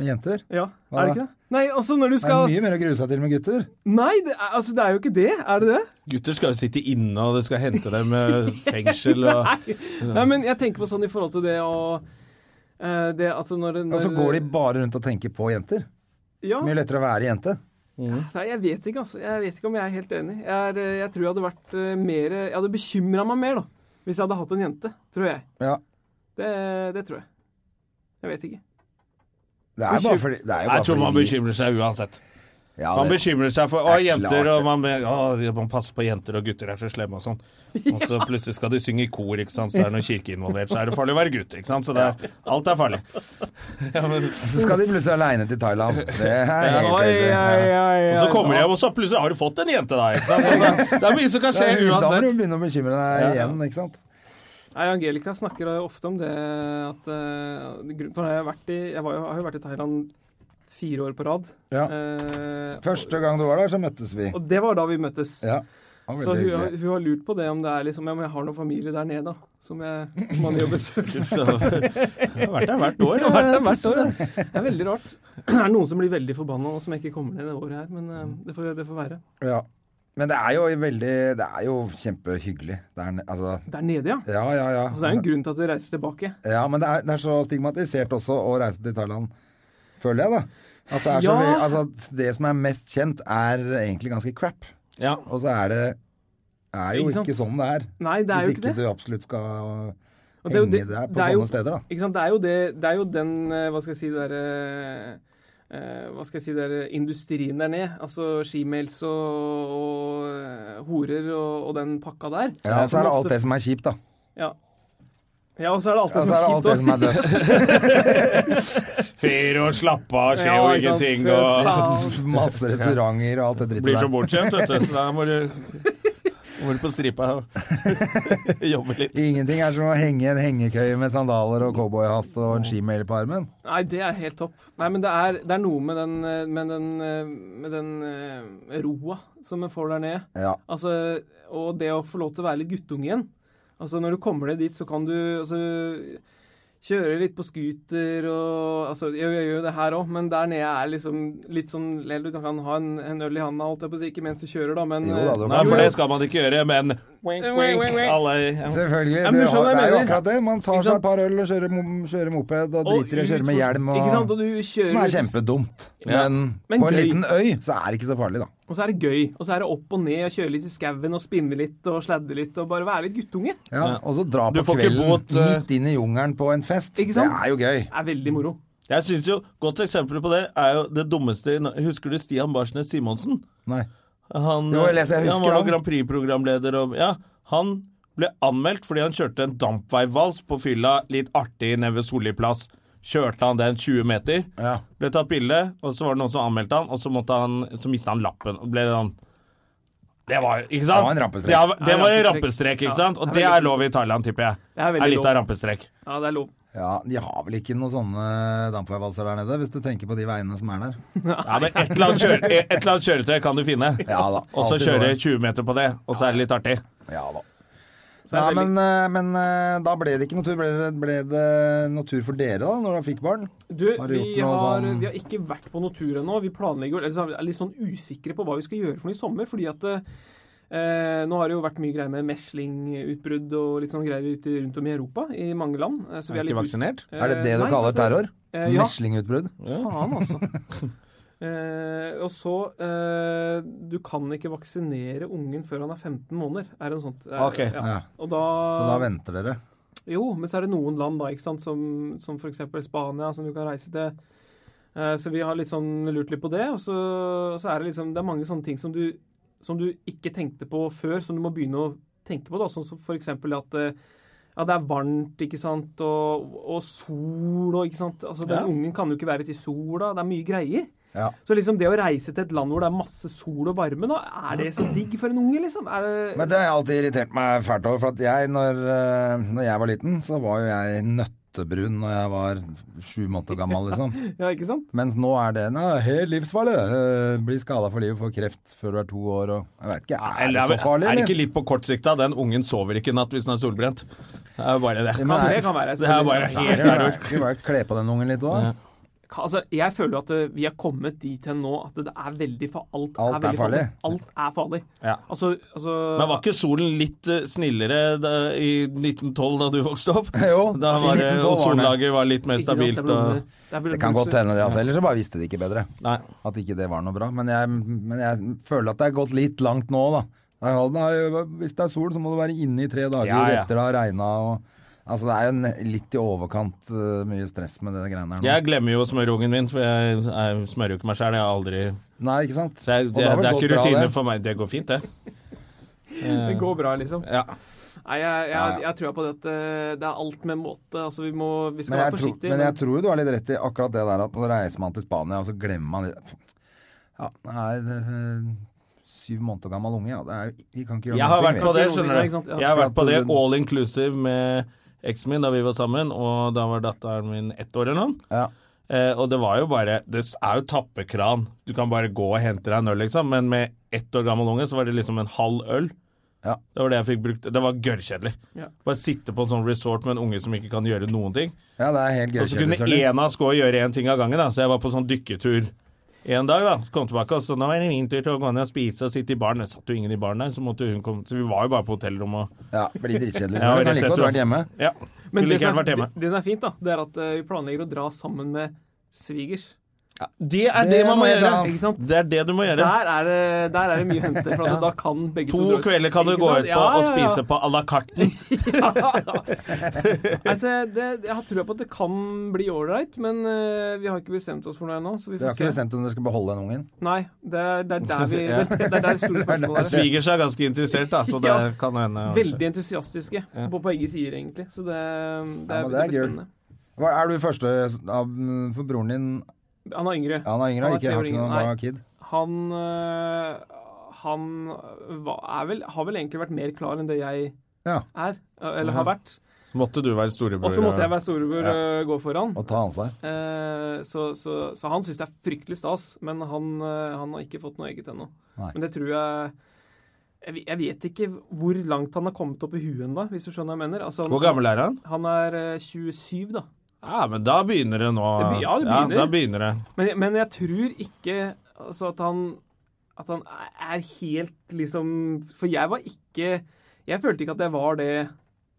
Med jenter.
Ja,
Hva
er det
da?
ikke det? Nei, altså når du
Det er
skal
mye mer å grue seg til med gutter.
Nei, det er, altså, det er jo ikke det. Er det det?
Gutter skal jo sitte inne, og det skal hente dem eh, fengsel og
Nei. Nei, men jeg tenker på sånn i forhold til det å eh, Det altså når, når
Og så går de bare rundt og tenker på jenter.
Ja,
Mye lettere å være jente.
nei, jeg vet ikke, altså. Jeg vet ikke om jeg er helt enig. Jeg, er, eh, jeg tror jeg hadde vært eh, mer Jeg hadde bekymra meg mer, da. Hvis jeg hadde hatt en jente, tror jeg.
Ja.
Det, det tror jeg. Jeg vet ikke.
Det er bare fordi det er jo bare
Jeg tror man
fordi-
bekymrer seg uansett.
ja,
Man
det-
bekymrer seg for å,
Det er klart
jenter, og
det.
man, å, man passer på jenter, og gutter er så slemme og sånn. Og så plutselig skal de synge i kor, ikke sant? så er det noe kirke involvert, så er det farlig å være gutt. ikke sant? Så det er, alt er farlig. Ja, men, og
Så skal de plutselig aleine til Thailand. Det er helt
Oi,
crazy.
oi,
Ja.
oi, oi.
så kommer de hjem, og så plutselig har du fått en jente, da. ikke sant? Altså, det er mye som kan skje
Da må du
uansett.
begynne å bekymre deg igjen, ikke sant.
Nei, Angelica snakker ofte om det at eh, grunn- For jeg har, vært i, jeg, var, jo- har jo vært i Thailand fire år på rad.
Ja.
Eh,
Første gang du var der, så møttes vi.
Og det var da vi møttes.
Ja. Det var
Så
veldig
hun, har-
hyggelig.
hun har lurt på det om det er liksom Ja, men jeg har noen familie der nede, da. Som jeg man jo besøker.
Så, jeg har vært der hvert år.
Det har vært der hvert år, ja. Det er veldig rart. Det er noen som blir veldig forbanna nå som jeg ikke kommer ned det året her, men
Mm.
eh, det får, det får være.
Ja. Men det er jo veldig Det er jo kjempehyggelig. Det er, ne- altså,
Der nede, ja.
ja, ja, ja.
Så det er jo en grunn til at du reiser tilbake.
Ja, men det er, det er så stigmatisert også å reise til Thailand, føler jeg, da. At det, er så
Ja.
mye- altså, at det som er mest kjent, er egentlig ganske crap.
Ja.
Og så er det er jo
Ikke
ikke,
sant?
sånn det er.
Nei, det er jo
Hvis
ikke
ikke
det.
du absolutt skal
Og det er jo
henge
det-
deg
det
på
er jo-
sånne steder, da.
Ikke sant? Det er jo, det, det er jo den eh, Hva skal jeg si det derre eh, Hva skal jeg si der, industrien der nede. Altså skimels og, og eh, horer og, og den pakka der.
Ja, og så er det alt det som er kjipt, da.
Ja. ja, og så er det alt
Ja,
det
så er det alt det som
som er
er dødt.
Fyr og slapp av, skjer jo
Ja, ikke sant.
ingenting, og
Masse restauranter og alt det
blir så
drittet der.
bortskjemt, vet du. Så da må du, må du på stripa og jobbe litt.
Ingenting er som å henge i en hengekøye med sandaler og cowboyhatt og en skimail på armen.
Nei, det er helt topp. Nei, men det er, det er noe med den, eh, med den, eh, med den eh, roa som en får der nede.
Ja.
Altså, og det å få lov til å være litt guttunge igjen. Altså, når du kommer ned dit, så kan du altså, kjøre litt på scooter og Altså, jeg, jeg gjør jo det her òg, men der nede er liksom litt sånn eller Du kan ha en, en øl i handa, holdt jeg på å si, ikke mens du kjører, da, men
Jo da, du
eh,
kan
Nei,
jo-
for det skal man ikke gjøre, men
Wink, wink, wink.
Alle, ja.
Selvfølgelig.
Ja,
du,
men du skjønner
har- det
hva jeg
er jo
mener.
akkurat det. Man tar
Ikke
seg
sant?
et par øl og kjører, mo- kjører moped og
og
driter i å kjøre
ut
med
for-
hjelm. Og,
Ikke sant, og du kjører
som er
ut-
kjempedumt.
Ja.
Men,
Men
på en
gøy.
liten øy så er det ikke så farlig, da.
Og så er det gøy. Og så er det opp og ned og kjøre litt i skauen og spinne litt og sladde litt og bare være litt guttunge.
Ja, Og så dra
Du
på
får ikke
kvelden
båt, eh,
midt inn i jungelen på en fest.
Ikke sant?
Det er jo gøy.
Det er veldig moro.
Jeg synes jo, Godt eksempel på det er jo det dummeste Husker du Stian Barsnes Simonsen?
Nei.
Han,
Jo, jeg leser, jeg
ja, han
husker
var jo
han.
Grand Prix-programleder. og- Ja, han ble anmeldt fordi han kjørte en dampveivals på fylla, litt artig nede ved Solli plass. Kjørte han den 20 meter,
Ja.
ble tatt bilde, og så var det noen som anmeldte han, og så, måtte han, så mistet han lappen. Og ble sånn Det var jo Ikke sant?
Det var en rampestrek.
Det, er- det
Ja,
var en
rampestrek.
rampestrek, ikke
Ja,
sant? Og
det
det
er veldig-
er lov i Thailand, tipper jeg.
Det er
er
veldig
litt av
lov.
rampestrek.
Ja, det er lov.
ja, De har vel ikke noen sånne dampveivalser der nede, hvis du tenker på de veiene som er der.
Ja, men et eller annet, kjøre, et eller annet kjøretøy kan du finne.
Ja da.
Og så
Alltid
kjøre
noe.
20 meter på det, og så er det litt artig.
Ja da.
Så det
Ja,
er veldig...
men, eh, men eh, da ble det ikke noe tur. Ble det, ble det noe tur for dere, da, når dere fikk barn?
Du,
Har du
vi
gjort noe
har,
sånn-
vi har ikke vært på noen tur ennå. Vi planlegger jo, eller så er vi litt sånn usikre på hva vi skal gjøre for noe i sommer. fordi at eh, nå har det jo vært mye greier med meslingutbrudd og litt sånn greier ute rundt om i Europa, i mange land. eh, Så vi er litt
Ikke vaksinert.
Eh,
Er det det du
nei,
kaller terror?
Eh, ja.
Meslingutbrudd?
Faen, altså. Eh, og så eh, Du kan ikke vaksinere ungen før han er 15 måneder. Er det noe sånt? Eh,
Ok.
Ja.
Ja.
Og da,
Så da venter dere.
Jo, men så er det noen land da, ikke sant, som, som f.eks. Spania, som du kan reise til. Eh, Så vi har litt sånn lurt litt på det. Og så, og så er det liksom Det er mange sånne ting som du som du ikke tenkte på før, som du må begynne å tenke på. da, Sånn som f.eks. at eh, ja, det er varmt, ikke sant, og, og sol og ikke sant. Altså, Den
Ja.
ungen kan jo ikke være ute i sola. Det er mye greier.
Ja.
Så liksom det å reise til et land hvor det er masse sol og varme, da, er det så digg for en unge, liksom? Er det-
Men det har jeg alltid irritert meg fælt over. For at jeg, når, eh, når jeg var liten, så var jo jeg nøttebrun når jeg var sju måneder gammel, liksom.
ja, ikke sant?
Mens nå er det nei, helt livsfarlig. Eh, Bli skada for livet, få kreft før du er to år og Jeg vet ikke, er det
Eller
så farlig,
er det ikke litt på kort sikt, da? Den ungen sover ikke i natt hvis den er solbrent. Det er bare det.
men
det kan være.
Det er bare
Nei,
helt
Skal
terror.
vi bare kle på den ungen litt òg?
Ka- Altså, jeg føler jo at eh, vi er kommet dit hen nå at det er veldig fa alt,
Alt
er, veldig
er farlig.
Alt er farlig.
Ja.
Altså, altså
Men var ikke solen litt eh, snillere da, i 1912 da du vokste opp?
Jo,
da var det, og
1912 var den.
sollaget var litt mer
ikke sant,
stabilt.
det er vel-
Og,
det er vel-
Det kan godt hende det, altså. Ellers så bare visste de ikke bedre.
nei.
At ikke det var noe bra. Men jeg, men jeg føler at det er gått litt langt nå, da. Det er sånn, Nei, hvis det er sol, så må du være inne i tre dager
Ja, ja.
etter det har regna og Altså det er jo en- litt i overkant eh, mye stress med det greiene her nå.
Jeg glemmer jo smørungen min, for jeg, jeg smører jo ikke meg sjøl. Jeg har aldri
Nei, ikke sant?
Så jeg,
Og
det,
da har
det er
gått
ikke
bra,
rutine
det.
for meg. Det går fint, det.
Det går bra, liksom.
Ja.
Nei, jeg, jeg,
Ja, ja.
jeg, tror på det at eh, det er alt med måte. Altså, vi må Vi skal
Men jeg,
være
tror,
forsiktige.
men jeg tror jo du har litt rett i akkurat det der at nå reiser man til Spania, og så glemmer man det. Ja, nei, det er eh, syv måneder gammel unge, ja. Det er, jo- vi kan ikke gjøre
Jeg har
noe
vært på det, skjønner
Ikke sant?
du.
Ja.
Jeg har vært på det
For at du-
all inclusive med eksen min da vi var sammen, og da var datteren min ett år eller noe.
Ja.
Eh, og det var jo bare Det er jo tappekran. Du kan bare gå og hente deg en øl, liksom. Men med ett år gammel unge så var det liksom en halv øl.
Ja.
Det var det jeg fikk brukt. Det var gørrkjedelig.
Ja.
Bare sitte på en sånn resort med en unge som ikke kan gjøre noen ting.
ja, det er helt gøy.
Og så kunne
kjødeskjøling.
en av oss gå og gjøre én ting av gangen, da. Så jeg var på sånn dykketur en dag, da. Så kom jeg tilbake, og så nå var det min tur til å gå ned og spise og sitte i baren. Det satt jo ingen i baren der, så måtte hun komme. Så vi var jo bare på hotellrommet og
Ja, det blir dritkjedelig.
Ja,
så
og
Du kan
rett
like godt
etter
vært hjemme.
Ja.
Men
Ville ikke
det som,
gjerne
er,
vært hjemme.
det, det som er fint, da, det er at eh, vi planlegger å dra sammen med svigers.
Det er det,
Det
man
må
må
jeg
gjøre.
da.
Ikke sant?
Det er det du må gjøre.
Der er, det- der er det mye å hente. For altså, da kan begge
To
dra ut.
kvelder kan du
Ikke
gå
sant?
ut på
Ja,
og
ja, ja.
spise på à la carte.
altså, det, jeg har trua på at det kan bli ålreit, men eh, vi har ikke bestemt oss for noe ennå. Så vi
Du har
får
ikke
se.
bestemt om du skal beholde den ungen.
Nei, det er, det er der vi Det, er- det er der det store spørsmålet er.
Svigers er ganske interessert, da, så det
Ja.
kan hende. altså.
Veldig entusiastiske på begge sider, egentlig. Så det,
altså.
det,
Ja,
er,
men
det
det er
blir
gøy.
spennende.
Hva, er du første av, mm, for broren din?
Han er yngre.
Ja, han er yngre,
Han er
ikke,
tre år
har ikke
yngre,
noen
nei.
bra kid.
Han øh, han var, er vel, har vel egentlig vært mer klar enn det jeg
Ja.
er, eh, eller har vært.
Så måtte du være
Og
storebror.
så måtte jeg være storebror øh, gå foran.
Og ta ansvar.
Eh, så, så, så han syns det er fryktelig stas, men han, eh, han har ikke fått noe eget ennå.
Nei.
Men det tror jeg jeg, ve- jeg vet ikke hvor langt han har kommet opp i huet ennå, hvis du skjønner hva jeg mener. Altså, han,
Hvor gammel er han?
Han er eh, 27, da.
Ja, men da begynner det nå.
Det be- ja, det begynner.
da begynner det.
Men, men jeg tror ikke altså, at han at han er- er helt liksom For jeg var ikke Jeg følte ikke at jeg var det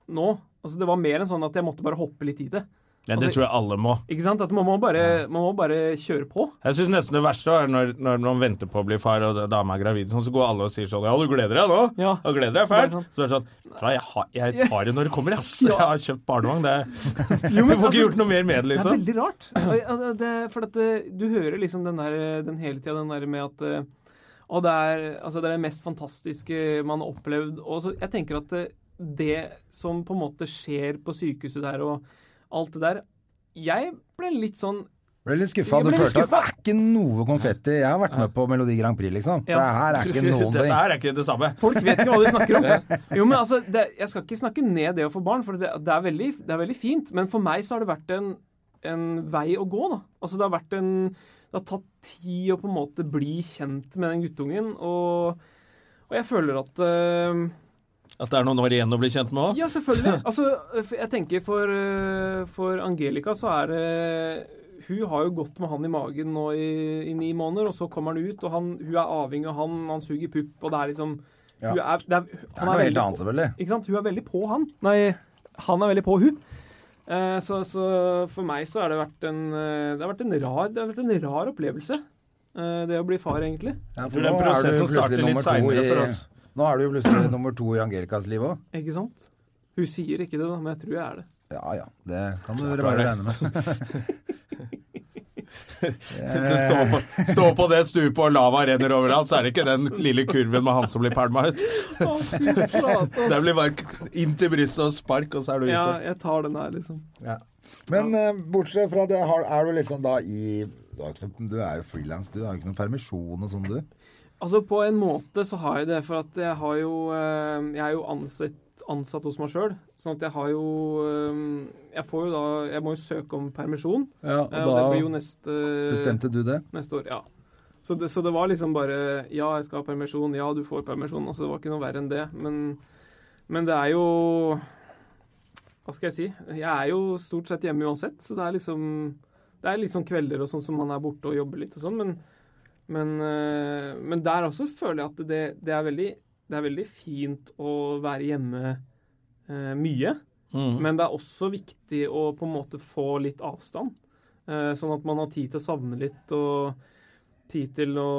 nå. Altså, det var mer enn sånn at jeg måtte bare hoppe litt i det.
Ja, det
Altså-
tror jeg alle må.
Ikke sant? At man må bare, man må bare kjøre på.
Jeg syns nesten det verste er når, når man venter på å bli far, og dama er gravid, sånn, så går alle og sier sånn Ja, du gleder deg nå?
Ja.
Du gleder deg fælt?
Det
Så er
er sånn.
det sånn Vet du hva, jeg, har, jeg tar det når det kommer, ass. Jeg har kjøpt barnevogn. Det er
Jo, altså,
Du får ikke gjort noe mer med det,
Det er
liksom.
veldig rart. Og jeg- altså, Det, for at det, du hører liksom den, der, den hele tida den der med at eh, Å, det er, altså, det er det mest fantastiske man har opplevd. Og så, jeg tenker at eh, det som på en måte skjer på sykehuset der og alt det der Jeg ble litt sånn
Ble litt skuffa.
Jeg
Du
ble litt
følte at det er ikke noe konfetti. Jeg har vært med på Melodi Grand Prix, liksom.
Ja.
Det her er ikke noen
Dette
ting.
her er ikke det samme.
Folk vet ikke hva de snakker om. Jo, men altså, det, Jeg skal ikke snakke ned det å få barn, for det, det, er veldig, det er veldig fint. Men for meg så har det vært en, en vei å gå. da. Altså, Det har vært en, det har tatt tid å på en måte bli kjent med den guttungen. Og, og jeg føler at eh,
At det er noen år igjen å bli kjent med òg.
ja, selvfølgelig. Altså, f- jeg tenker for, eh, for Angelica så er det Hun har jo gått med han i magen nå i, i ni måneder, og så kommer han ut, og han, hun er avhengig av han, han suger pupp, og det er liksom hun
Ja.
er, det er,
Det er noe helt annet, selvfølgelig.
Ikke sant? Hun er veldig på han. Nei, han er veldig på hun. Eh, så, så for meg så har det vært en, eh, det har vært en, rar, det har vært en rar opplevelse. eh, det å bli far, egentlig.
Ja, for
tror den
nå er du jo
prosessen
plutselig
starter litt
nummer to
senere
i-
for oss.
Nå er du jo plutselig nummer to i Angelicas liv òg.
Ikke sant? Hun sier ikke det, da, men jeg tror jeg er det.
Ja ja, det kan du bare regne med.
Så stå på, stå på det stupet og lava renner overalt, så er det ikke den lille kurven med han som blir pælma ut.
Å, fy flate,
Det
ass.
blir bare inn til brystet og spark, og så er du
Ja,
ute.
jeg tar den her, liksom.
Men eh, bortsett fra det, har, er du liksom da i du, har ikke noe, du er jo frilans, du har jo ikke noen permisjon og sånn, du.
Altså, på en måte så har jeg det, for at jeg har jo eh, Jeg er jo ansett, ansatt hos meg sjøl, sånn at jeg har jo eh, Jeg får jo da Jeg må jo søke om permisjon,
Ja,
eh, og det blir jo neste
Bestemte du det?
Neste år, ja. Så det, så det var liksom bare Ja, jeg skal ha permisjon. Ja, du får permisjon. Altså, det var ikke noe verre enn det. Men, men det er jo Hva skal jeg si? Jeg er jo stort sett hjemme uansett, så det er liksom Det er liksom kvelder og sånn som man er borte og jobber litt og sånn, men men, eh, men der også føler jeg at det, det, er veldig, det er veldig fint å være hjemme eh, mye. Men det er også viktig å på en måte få litt avstand. Eh, sånn at man har tid til å savne litt, og tid til å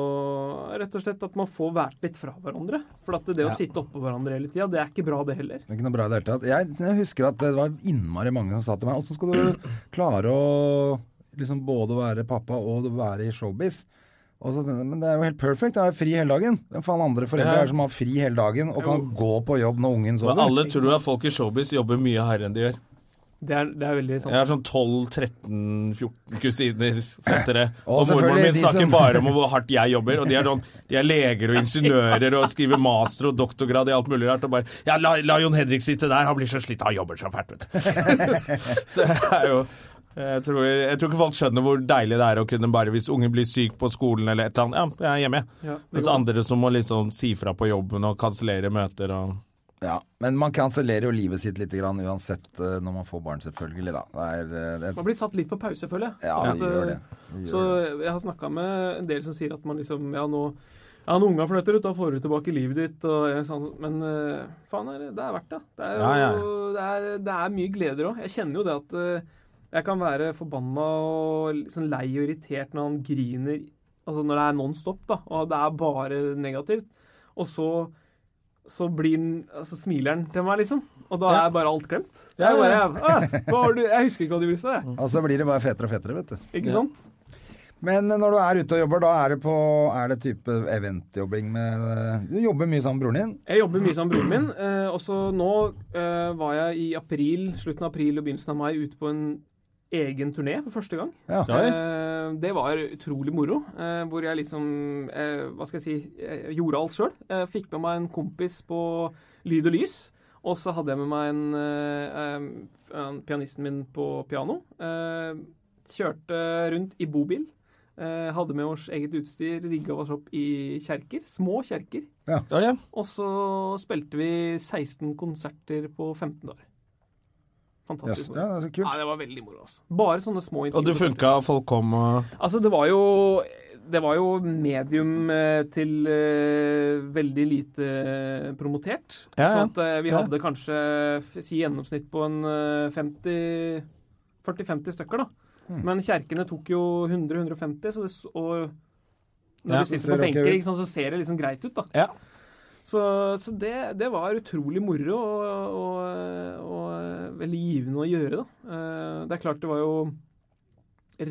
Rett og slett at man får vært litt fra hverandre. For at det, det å sitte oppå hverandre hele tida, det er ikke bra, det heller.
Det er ikke noe bra i det hele tatt. Jeg, jeg husker at det var innmari mange som sa til meg Åssen skal du klare å liksom både være pappa og være i showbiz? Og så, tenkte jeg, men det er jo helt perfect. Jeg har jo fri hele dagen. Hvem faen andre foreldre er det som har fri hele dagen og kan gå på jobb når
Men
ungen sover?
alle tror at folk i showbiz jobber mye hardere enn de gjør.
Det er, det er veldig sant.
Jeg har sånn 12-13-14 kusiner, fettere. Og
Og
mormoren
selvfølgelig
min
de
snakker
som-
bare om hvor hardt jeg jobber. Og de er, sånn, de er leger og ingeniører og skriver master og doktorgrad i alt mulig rart. Og bare Ja, la, la Jon Henrik sitte der, han blir så slitt, han jobber så fælt, vet du. så jeg er jo jeg tror, jeg tror ikke folk skjønner hvor deilig det er å kunne bare Hvis ungen blir syk på skolen eller et eller annet, ja, jeg er hjemme, jeg.
Ja,
Mens andre som må liksom si fra på jobben og kansellere møter og
Ja, Men man kansellerer jo livet sitt litt grann, uansett eh, når man får barn, selvfølgelig. da. Det er, eh, det,
Man blir satt litt på pause, føler jeg.
ja,
Altså at,
vi gjør det. Vi
Så
gjør det.
jeg har snakka med en del som sier at man liksom Ja, nå ja, når unga flytter ut, da får du tilbake livet ditt. Og jeg er sånn, men eh, faen, er det, det er verdt det. Det er, jo,
Ja, ja.
Det er, det er mye gleder òg. Jeg kjenner jo det at eh, jeg kan være forbanna og liksom lei og irritert når han griner, altså når det er non stop, da, og det er bare negativt. Og så, så blir han altså, smiler han til meg, liksom. Og da er bare alt glemt. Det er bare, «Æ, hva var det du, jeg husker ikke hva du visste,
Mm.
jeg.
Og så blir det bare fetere og fetere, vet du.
Ikke sant?
Men eh, når du er ute og jobber, da er det på er det type eventjobbing med eh, Du jobber mye sammen med broren din?
Jeg jobber mye sammen med broren min. Eh, også nå eh, var jeg i april, slutten av april og begynnelsen av mai ute på en egen turné for første gang.
Ja.
Eh, det var utrolig moro. Eh, hvor jeg liksom eh, Hva skal jeg si jeg Gjorde alt sjøl. Eh, fikk med meg en kompis på Lyd og Lys. Og så hadde jeg med meg en, eh, eh, en pianisten min på piano. Eh, kjørte rundt i bobil. Eh, hadde med oss eget utstyr. Rigga oss opp i kjerker. Små kjerker.
Ja, ja.
Og så spilte vi 16 konserter på 15 dager.
Yes.
Fantastisk.
Ja, det er så kult.
Ja, det var veldig moro. Altså. Bare sånne små
Og det funka, folk kom og
Altså, det var jo det var jo medium eh, til eh, veldig lite eh, promotert.
Ja, ja.
Sånn at eh, vi
Ja.
hadde kanskje f- si gjennomsnitt på en eh, 50 40-50 stykker, da. Men kjerkene tok jo 100-150, så det s- og når
Ja,
du sitter
så
på
ser det ok
benker,
ut.
ikke sant, så ser det liksom greit ut, da.
Ja.
Så, så det, det var utrolig moro og, og, og eh, veldig givende å gjøre, da. Eh, Det er klart, det var jo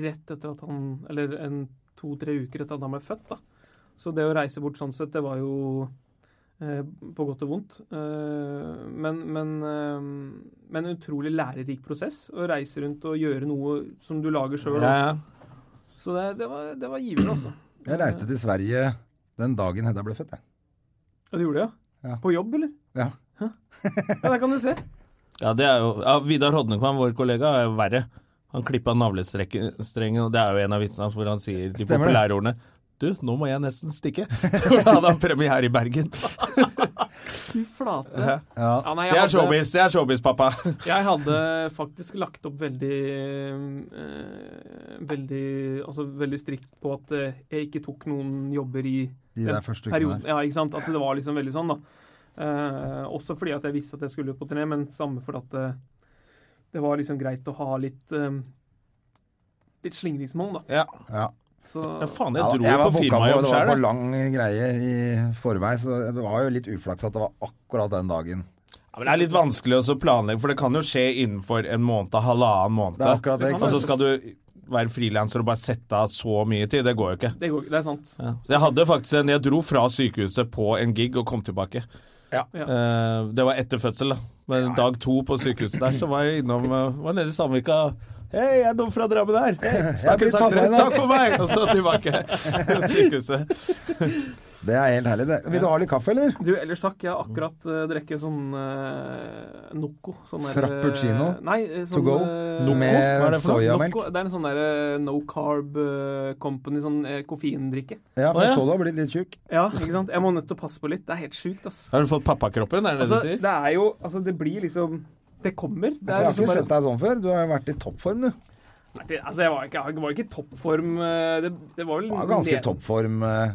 rett etter at han Eller en to-tre uker etter at han ble født, da. Så det å reise bort sånn sett, det var jo eh, på godt og vondt. Eh, men, men, eh, men en utrolig lærerik prosess å reise rundt og gjøre noe som du lager sjøl.
ja, ja.
Så det, det, var, det var givende, altså.
Jeg reiste til Sverige den dagen Hedda ble født, jeg.
Ja, du gjorde det, ja?
Ja.
På jobb, eller?
Ja.
Hæ? Ja, der kan du se.
Ja, det er jo, ja, Vidar Hodnekvam, vår kollega, er jo verre. Han klippa navlestrengen, og det er jo en av vitsene hans hvor han sier de
Stemmer det.
populære ordene. Du, nå må jeg nesten stikke. For da hadde han premiere i Bergen.
Fy flate.
Ja.
Ja, nei,
Det
jeg
er
hadde-
showbiz, det er showbiz, pappa.
Jeg hadde faktisk lagt opp veldig eh, Veldig Altså veldig strikt på at eh, jeg ikke tok noen jobber i
De der første ukene
perioden. Ja, ikke sant? At det var liksom veldig sånn, da. Eh, også fordi at jeg visste at jeg skulle ut på turné, men samme fordi at det, det var liksom greit å ha litt eh, Litt slingringsmonn, da.
Ja,
Ja.
Så
ja faen,
Ja,
jeg dro
jeg
jo
var
på
booka
firmajobb
på- Det var
selv,
på
jeg.
lang greie i forvei, så det var jo litt uflaks at det var akkurat den dagen.
Ja, men Det er litt vanskelig også å planlegge, for det kan jo skje innenfor en måned, halvannen
Det er
måned.
akkurat det, ikke
Og så
sant?
skal du være frilanser og bare sette av så mye tid. Det går jo ikke.
Det, går, ikke- det er sant.
Så jeg hadde faktisk en Jeg dro fra sykehuset på en gig og kom tilbake.
Ja.
Ja.
Eh, det var etter fødsel, da. Men dag to på sykehuset der, så var jeg innom eh, Var nede i Sandvika. Hei, jeg er dum fra Drammen her! Hey,
blir
snakker sagt
pappa i
rett.
dag.
Takk for meg! Og så tilbake til sykehuset.
Det er helt herlig, det. Vil du ha litt kaffe, eller?
Du, ellers takk. Jeg har akkurat uh, drukket sånn eh, Noco. Sånn der, eh,
Frappuccino?
Nei, eh, sånn,
go?
eh,
Noco? Med
Hva er det for noe?
soyamelk?
Noco, Det er en sånn der eh, no carb eh, company, sånn eh, koffeindrikke.
Ja, for
Å, ja.
jeg så du har blitt litt tjukk.
Ja, ikke sant? Jeg må nødt til å passe på litt. Det er helt sjukt, ass.
Har du fått pappakroppen, er det
Altså,
det du sier?
det er jo Altså, det blir liksom Det kommer. Det
Jeg
er
har
liksom
ikke
bare
sett deg sånn før. Du har jo vært i toppform, du.
Nei, det- Altså, jeg var ikke, jeg var ikke i toppform. eh, Det, det var vel
Du var ganske i
ned-
toppform. eh.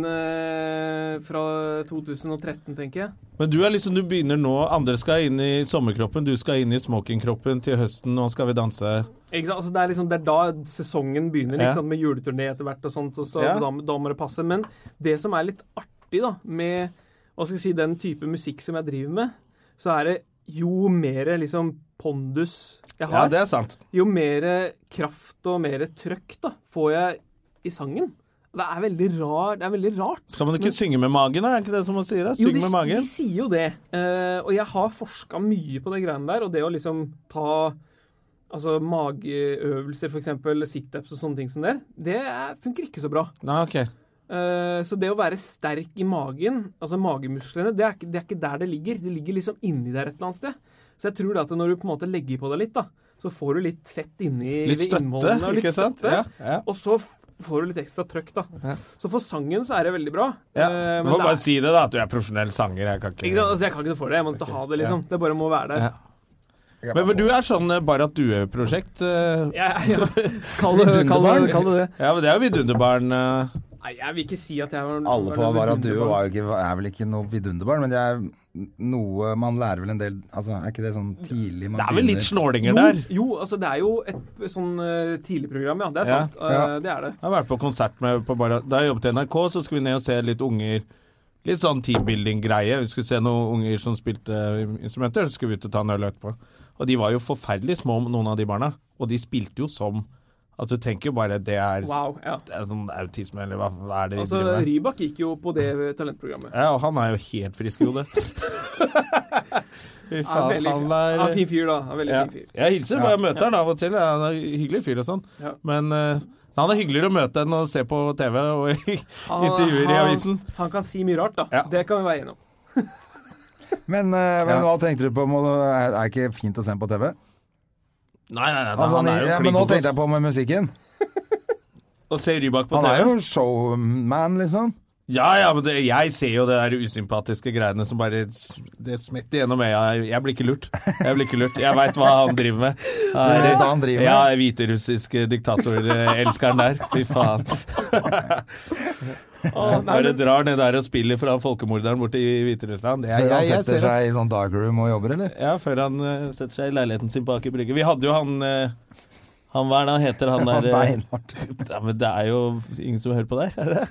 nedadstigende fra 2013, tenker jeg.
Men du er liksom, du begynner nå. Andre skal inn i sommerkroppen, du skal inn i smokingkroppen til høsten. Nå skal vi danse.
Ikke sant? Altså, det, er liksom, det er da sesongen begynner,
Ja.
ikke sant? med juleturné etter hvert og sånt. Og så,
Ja.
da, da må det passe. Men det som er litt artig da, med hva skal jeg si, den type musikk som jeg driver med, så er det jo mer liksom pondus jeg
Ja,
har,
det er sant.
jo mer kraft og mer trøkk da, får jeg i sangen. Det er veldig, rar, det er veldig rart.
Skal man ikke synge med magen, da? Er ikke det som man sier? da?
Jo,
Syng
de,
med
de
magen.
sier jo det. Eh, og jeg har forska mye på det greiene der, og det å liksom ta altså mageøvelser, for eksempel situps og sånne ting som det, det er- funker ikke så bra.
Nei, ok.
Eh, så det å være sterk i magen, altså magemusklene, det er, ikke, det er ikke der det ligger. Det ligger liksom inni der et eller annet sted. Så jeg tror det at når du på en måte legger på deg litt, da, så får du litt fett inni
Litt
ved
støtte,
innvollene, og litt
ikke sant?
støtte.
Ja, ja.
Og så f- får du litt ekstra trøkk, da. Så for sangen så er det veldig bra.
Ja.
Eh,
Du
men
får
det er-
bare si det, da, at du er profesjonell sanger. Jeg kan ikke,
ikke sant? Altså, jeg kan ikke noe for det. Jeg må ikke ha det, liksom. Det bare må være der.
Ja. Men for du er sånn eh, Barrat Due-prosjekt. eh,
Jeg, jeg, kall, det, kall, det, kall det det.
Ja, men det er jo vidunderbarn. eh.
Nei, jeg vil ikke si at jeg var
Alle på
var noe
Avara Duo
vidunderbarn.
var jo ikke, er vel ikke noe vidunderbarn, men det er noe man lærer vel en del Altså, er ikke det sånn tidlig man
Det er vel litt
begynner?
snålinger der.
Jo, altså det er jo et sånn eh, tidlig program, ja. Det er
Ja,
sant. Eh,
ja.
det er det.
Jeg har vært på konsert med på Barrat Da jeg jobbet i NRK, så skulle vi ned og se litt unger. Litt sånn teambuilding-greie. Vi skulle se noen unger som spilte eh, instrumenter, så skulle vi ut og ta en øl etterpå. Og de var jo forferdelig små, noen av de barna. Og de spilte jo som At du tenker jo bare det er,
Wow. ja.
det er sånn autisme, eller hva, hva er det de
Altså,
driver med?
Rybak gikk jo på det talentprogrammet.
Ja, og han er jo helt frisk i hodet. Fy
Er en
faen,
veldig,
han
er en
er
fin fyr, da. Er en veldig
ja.
fin fyr.
Jeg hilser bare jeg møter han av og til. Han er en hyggelig fyr og sånn.
Ja.
Men eh, han er hyggeligere å møte enn å se på TV og
Ah,
intervjuer i
Han-
avisen.
Han, han kan si mye rart, da.
Ja.
Det kan vi være enige om.
Men, eh, men
Ja.
hva tenkte du på? Må, er det ikke fint å se på TV?
Nei, nei, nei,
Altså,
han
han,
er jo
ja, men nå
klinkende
tenkte jeg på med musikken.
Å se Rybak på
Han er
TV.
jo showman, liksom.
Ja, ja, men det, jeg ser jo det der usympatiske greiene som bare s- Det smetter gjennom øya. Jeg, jeg blir ikke lurt. Jeg blir ikke lurt. Jeg veit hva han driver med.
Du vet hva han driver med?
Ja, hviterussiske diktatorelskeren der. Fy faen.
Å, nei,
Bare
men-
drar ned der og spiller for han folkemorderen borte i Hviterussland. Det er-
Før han
jeg- jeg
setter
ser han.
seg i sånn darkroom og jobber, eller?
Ja, før han eh, setter seg i leiligheten sin bak i brygge. Vi hadde jo han eh, Han hva er det han heter, han
Han
der eh,
beinhardt.
ja, Men det er jo ingen som hører på der, er det?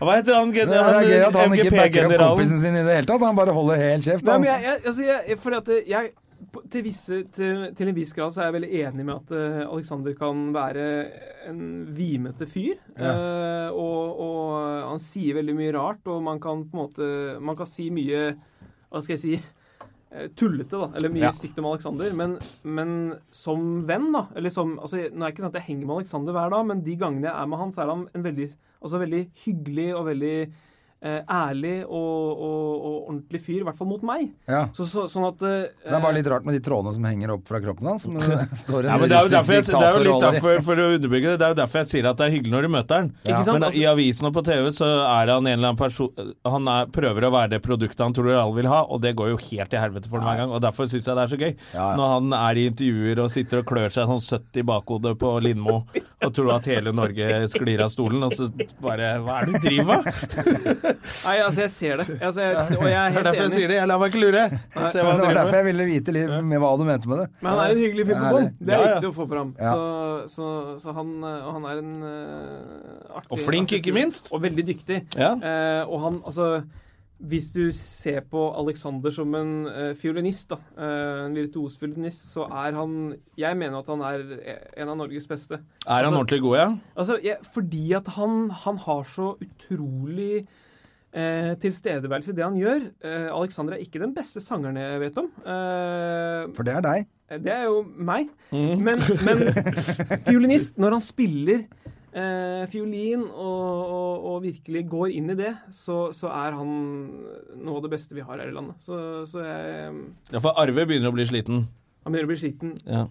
Hva heter han? gen-
Det er gøy at han ikke backer opp
MGP-generalen?
kompisen sin i det hele tatt. Han bare holder helt kjeft.
Nei,
Han.
men jeg, jeg, altså jeg, fordi at jeg på- til, visse, til, til en viss grad så er jeg veldig enig med at eh, Alexander kan være en vimete fyr. eh, og, og han sier veldig mye rart, og man kan på en måte Man kan si mye Hva skal jeg si? eh, Tullete, da. Eller mye
Ja.
stygt om Alexander. Men, men som venn, da. Eller som altså, jeg- Nå er det ikke sånn at jeg henger med Alexander hver dag, men de gangene jeg er med han, så er han en veldig, altså, veldig hyggelig og veldig eh, ærlig og, og, og ordentlig fyr. I hvert fall mot meg.
Ja.
Så, så, sånn at eh,
Det er bare litt rart med de trådene som henger opp fra kroppen hans. Men det står en
Ja, men det er jo
russisk
derfor jeg, det er jo
diktator
litt
holder i.
derfor, for å underbygge det, det er jo derfor jeg sier at det er hyggelig når du møter han.
Ikke sant?
Men i avisen og på TV så er han en eller annen person Han er, prøver å være det produktet han tror alle vil ha, og det går jo helt til helvete for ham hver gang. Og derfor syns jeg det er så gøy.
Ja, ja.
Når han er i intervjuer og sitter og klør seg sånn søtt i bakhodet på Lindmo og tror at hele Norge sklir av stolen, og så bare Hva er det du driver med?
Nei, altså, jeg ser det. Altså, jeg, og
Det
jeg er
er
helt
derfor jeg
enig.
sier det. Jeg lar meg ikke lure. Se hva
Det
han
var
driver
derfor
med.
jeg ville vite litt med hva du mente med det.
Men han er en hyggelig fyr på
Ja,
bånd.
det-
Det er
ja, ja.
viktig å få fram.
Ja.
Så, så, så han, eh, og han er en eh, artig
Og flink,
artig
ikke minst.
Og veldig dyktig.
Ja.
Eh, og han, altså hvis du ser på Alexander som en eh, fiolinist, da, eh, en virtuos fiolinist, så er han Jeg mener at han er en av Norges beste.
Er han
Altså-
ordentlig god, ja?
Altså, jeg, fordi at han, han har så utrolig eh, tilstedeværelse i det han gjør. Eh, Alexander er ikke den beste sangeren jeg vet om. Eh,
For det er deg.
det er jo meg. Men, men fiolinist, når han spiller eh, fiolin og, og, og virkelig går inn i det, så, så er han noe av det beste vi har her i landet. Så, så jeg
Ja, for Arve begynner å bli sliten.
Han begynner å bli sliten.
Ja.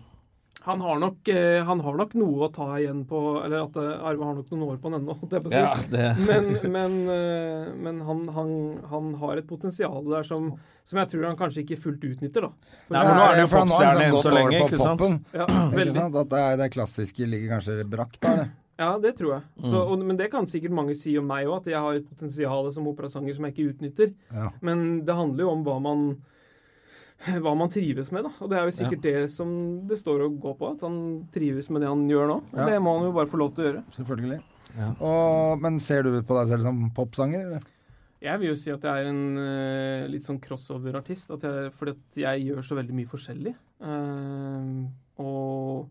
Han har, nok, eh, han har nok noe å ta igjen på Eller at eh, Arve har nok noen år på han ennå, holdt jeg på å si.
Ja, det.
Men, men, eh, men han, han, han har et potensial der som, som jeg tror han kanskje ikke fullt utnytter, da. For
Nei, men nå er det jo
for han har
popstjerne
liksom
enn så
gått over
lenge,
på
ikke sant?
poppen,
ja,
Ikke
veldig.
sant? At det, er, det klassiske ligger kanskje brakk der. det.
Ja, det tror jeg. Så,
Mm.
og, men det kan sikkert mange si om meg òg, at jeg har et potensial som operasanger som jeg ikke utnytter.
Ja.
Men det handler jo om hva man hva man trives med, da. Og det er jo sikkert det som det står og går på, at han trives med det han gjør nå. Og
Ja.
det må han jo bare få lov til å gjøre.
Selvfølgelig. Og, men ser du på deg selv som popsanger? Eller?
Jeg vil jo si at jeg er en eh, litt sånn crossover-artist, at jeg- fordi at jeg gjør så veldig mye forskjellig. Eh, og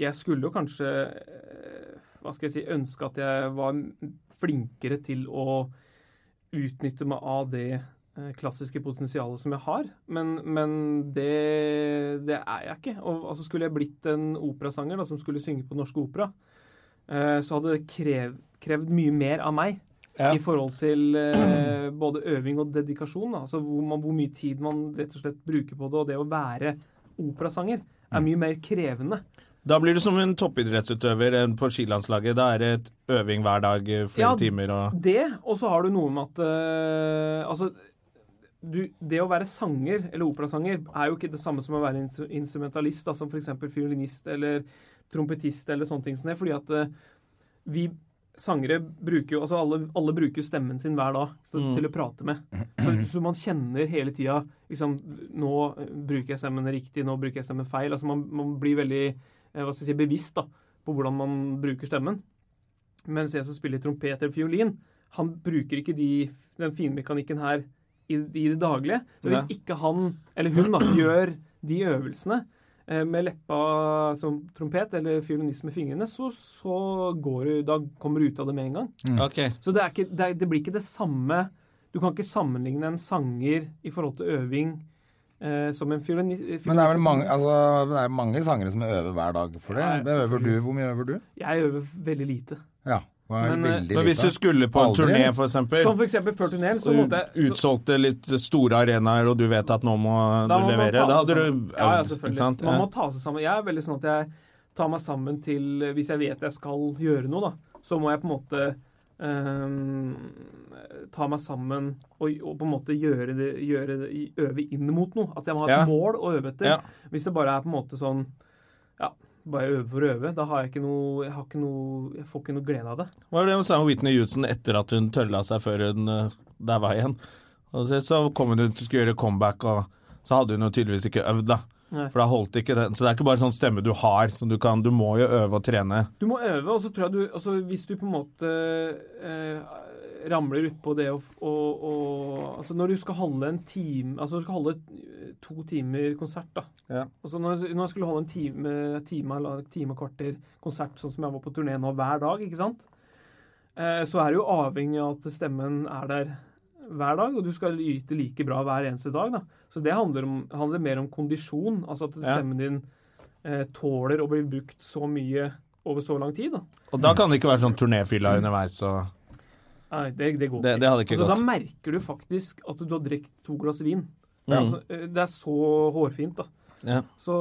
jeg skulle jo kanskje eh, hva skal jeg si, ønske at jeg var m- flinkere til å utnytte meg av det eh, klassiske potensialet som jeg har, men, men det, det er jeg ikke. Og, altså, skulle jeg blitt en operasanger da, som skulle synge på Norsk Opera, eh, så hadde det krev, krevd mye mer av meg
Ja.
i forhold til eh, både øving og dedikasjon. Da. Altså hvor, man, hvor mye tid man rett og slett bruker på det, og det å være operasanger er mye mer krevende.
Da blir du som en toppidrettsutøver eh, på skilandslaget. Da er det et øving hver dag, eh, flere
Ja,
timer og
Det, og så har du noe med at eh, Altså, du, det å være sanger, eller operasanger, er jo ikke det samme som å være in- instrumentalist, da, som f.eks. fiolinist eller trompetist eller sånne ting som det, fordi at eh, vi sangere bruker jo Altså alle, alle bruker jo stemmen sin hver dag så, til å prate med. Så, så man kjenner hele tida liksom Nå eh, bruker jeg stemmen riktig, nå bruker jeg stemmen feil. Altså man, man blir veldig eh, hva skal jeg si, bevisst da, på hvordan man bruker stemmen. Mens jeg som spiller trompet eller fiolin, han bruker ikke de, den finmekanikken her i, i det daglige. Så hvis
Nei.
ikke han, eller hun, da, gjør de øvelsene eh, med leppa som trompet, eller fiolinist med fingrene, så, så går du, da kommer du ut av det med en gang.
Ok.
Så Mm. det, er ikke, det, er, det blir ikke det samme Du kan ikke sammenligne en sanger i forhold til øving eh, som en fiolini- fiolinist.
Men det er vel mange, altså, det er mange sangere som øver hver dag for det.
Ja,
det øver du,
selvfølgelig.
hvor mye øver du?
Jeg øver veldig lite.
Ja. det er
Men, eh,
veldig
Men hvis
lite.
du skulle på en
Aldri.
turné, for eksempel,
Som for eksempel før turneen, så
og
måtte jeg så,
utsolgte litt store arenaer, og du vet at nå må du
Da må man
levere,
ta
da
seg
hadde du
sammen. ja, ja,
øvd,
selvfølgelig.
ikke sant?
Man
Ja.
må ta seg sammen. Jeg er veldig sånn at jeg tar meg sammen til Hvis jeg vet jeg skal gjøre noe, da, så må jeg på en måte eh, ta meg sammen og, og på en måte gjøre det, gjøre det øve inn mot noe. At jeg må ha
Ja.
et mål å øve etter.
Ja.
Hvis det bare er på en måte sånn Ja, bare øve for å øve. Da har jeg ikke noe Jeg, har ikke noe, jeg får ikke noe glede av det.
Hva var det hun sa om Whitney Houston etter at hun tølla seg før hun uh, daua igjen? Og så, så kom hun ut og skulle gjøre comeback, og så hadde hun jo tydeligvis ikke øvd, da.
Nei.
For da holdt ikke den. Så det er ikke bare sånn stemme du har. Som du, kan, du må jo øve og trene.
Du må øve, og så tror jeg du altså Hvis du på en måte eh, ramler utpå det og, og, og Altså, når du skal holde en time Altså, når du skal holde eh, to timer konsert, da.
Ja.
Altså, når, når jeg skulle holde en time, time, eller time og kvarter konsert, sånn som jeg var på turné nå hver dag, ikke sant, eh, så er du jo avhengig av at stemmen er der hver dag, og du skal yte like bra hver eneste dag, da. Så det handler, om, handler mer om kondisjon, altså at
Ja.
stemmen din eh, tåler å bli brukt så mye over så lang tid, da.
Og da kan det ikke være sånn turnéfylla underveis og
Nei, det, det går
Det- det hadde ikke
altså,
gått.
Da merker du faktisk at du har drukket to glass vin.
Mm.
Altså, eh, det er så hårfint, da.
Ja.
Så,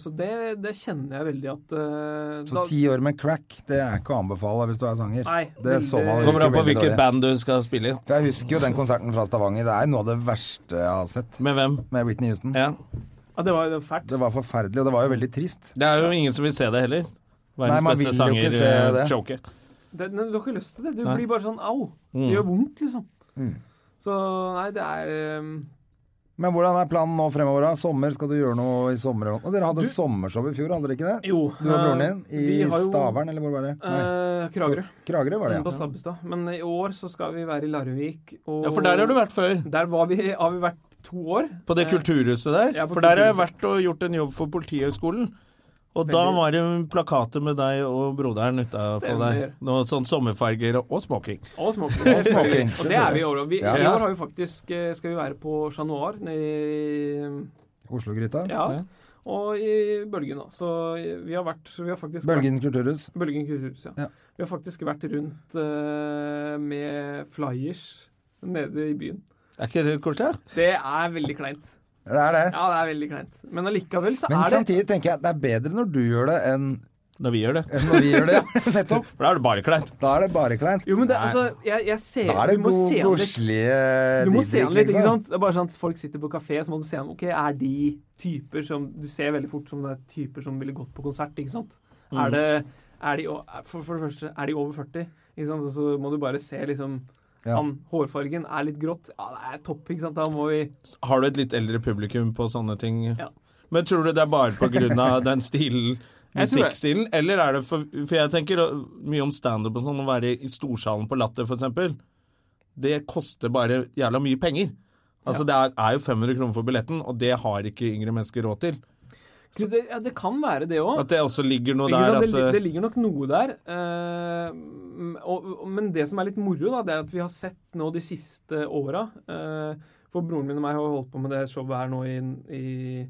så det, det kjenner jeg veldig at eh,
Så ti år med crack, det er ikke å anbefale hvis du er sanger.
Nei,
det
veldig-
så man
Kommer an på
Ikke veldig
hvilket
dårlig.
band du skal spille i.
For jeg husker jo den konserten fra Stavanger. Det er noe av det verste jeg har sett
Med hvem.
med Whitney Houston.
Ja.
Ja, det var jo fælt.
Det var forferdelig, og det var jo veldig trist.
Det er jo ingen som vil se det heller.
Nei,
Verdens
man
beste
vil jo ikke
sanger
se
eh,
det.
choker.
Det, nei, du har ikke lyst til det. Du
Nei.
blir
Mm.
bare sånn au. Det gjør vondt, liksom. Så nei, det er eh,
Men hvordan er planen nå fremover? da? Sommer, skal du gjøre noe i sommer? Og dere hadde
Du-
sommershow i fjor, hadde dere ikke det?
Jo.
Du og broren din
eh,
i
vi har jo-
Stavern, eller hvor var det? Nei,
Eh, Kragerø.
Kragerø var det,
På
ja.
Stabbestad. Men i år så skal vi være i Larvik. Og
Ja, for der har du vært før.
Der var vi, har vi vært to år.
På det
Eh,
kulturhuset der.
Ja, på
for der har jeg
kulturhuset.
vært og gjort en jobb for Politihøgskolen. Og da
Veldig.
var det plakater med deg og broderen utafor der.
Stemmer.
Noe sånn sommerfarger og og smoking.
Og smoking.
Og smoking.
Og det er vi i år. Og vi,
Ja.
I år har vi faktisk, eh, skal vi være på Chat Noir nede i
Oslo-gryta.
Ja. Og i Bølgen, da. Så vi har vært vi har faktisk vært,
Bølgen kulturhus.
Bølgen kulturhus, ja.
Ja.
Vi har faktisk vært rundt eh, med flyers nede i byen.
Er ikke det koselig? da?
Det er veldig kleint.
Det er det.
Ja, det er veldig kleint. Men allikevel så
Men
er det
samtidig tenker jeg at det er bedre når du gjør det enn
Når vi gjør det.
enn når vi gjør det. ja. Nettopp.
For da er det bare kleint.
Da er det bare kleint.
Jo, men det, altså, jeg, jeg ser
Da er det
du må
god,
se an litt.
koselige
Du må se
Didrik,
an litt, Eh, ikke
liksom.
sant? Det er bare sånn at Folk sitter på kafé, så må du se an Ok, er de typer som Du ser veldig fort som det er typer som ville gått på konsert, ikke sant? Er det er de, o- for, for det første, er de over 40? Ikke sant? Og så må du bare se liksom
Ja.
han, Hårfargen er litt grått. Ja, det er topp, ikke sant? Da må vi
Har du et litt eldre publikum på sånne ting?
Ja.
Men tror du det er bare på grunn av den stilen,
Jeg tror det.
musikkstilen? Eller er det for For jeg tenker uh, mye om standup og sånn, å være i storsalen på Latter, for eksempel. Det koster bare jævla mye penger. Altså, det er, er jo 500 kroner for billetten, og det har ikke yngre mennesker råd til.
det, ja, det kan være det òg.
At det også ligger noe
Ikke
der at
sant? det, det
uh,
ligger nok noe der. eh, mm, og, og- men det som er litt moro, da, det er at vi har sett nå de siste åra eh, For broren min og meg har jo holdt på med det showet her nå i, i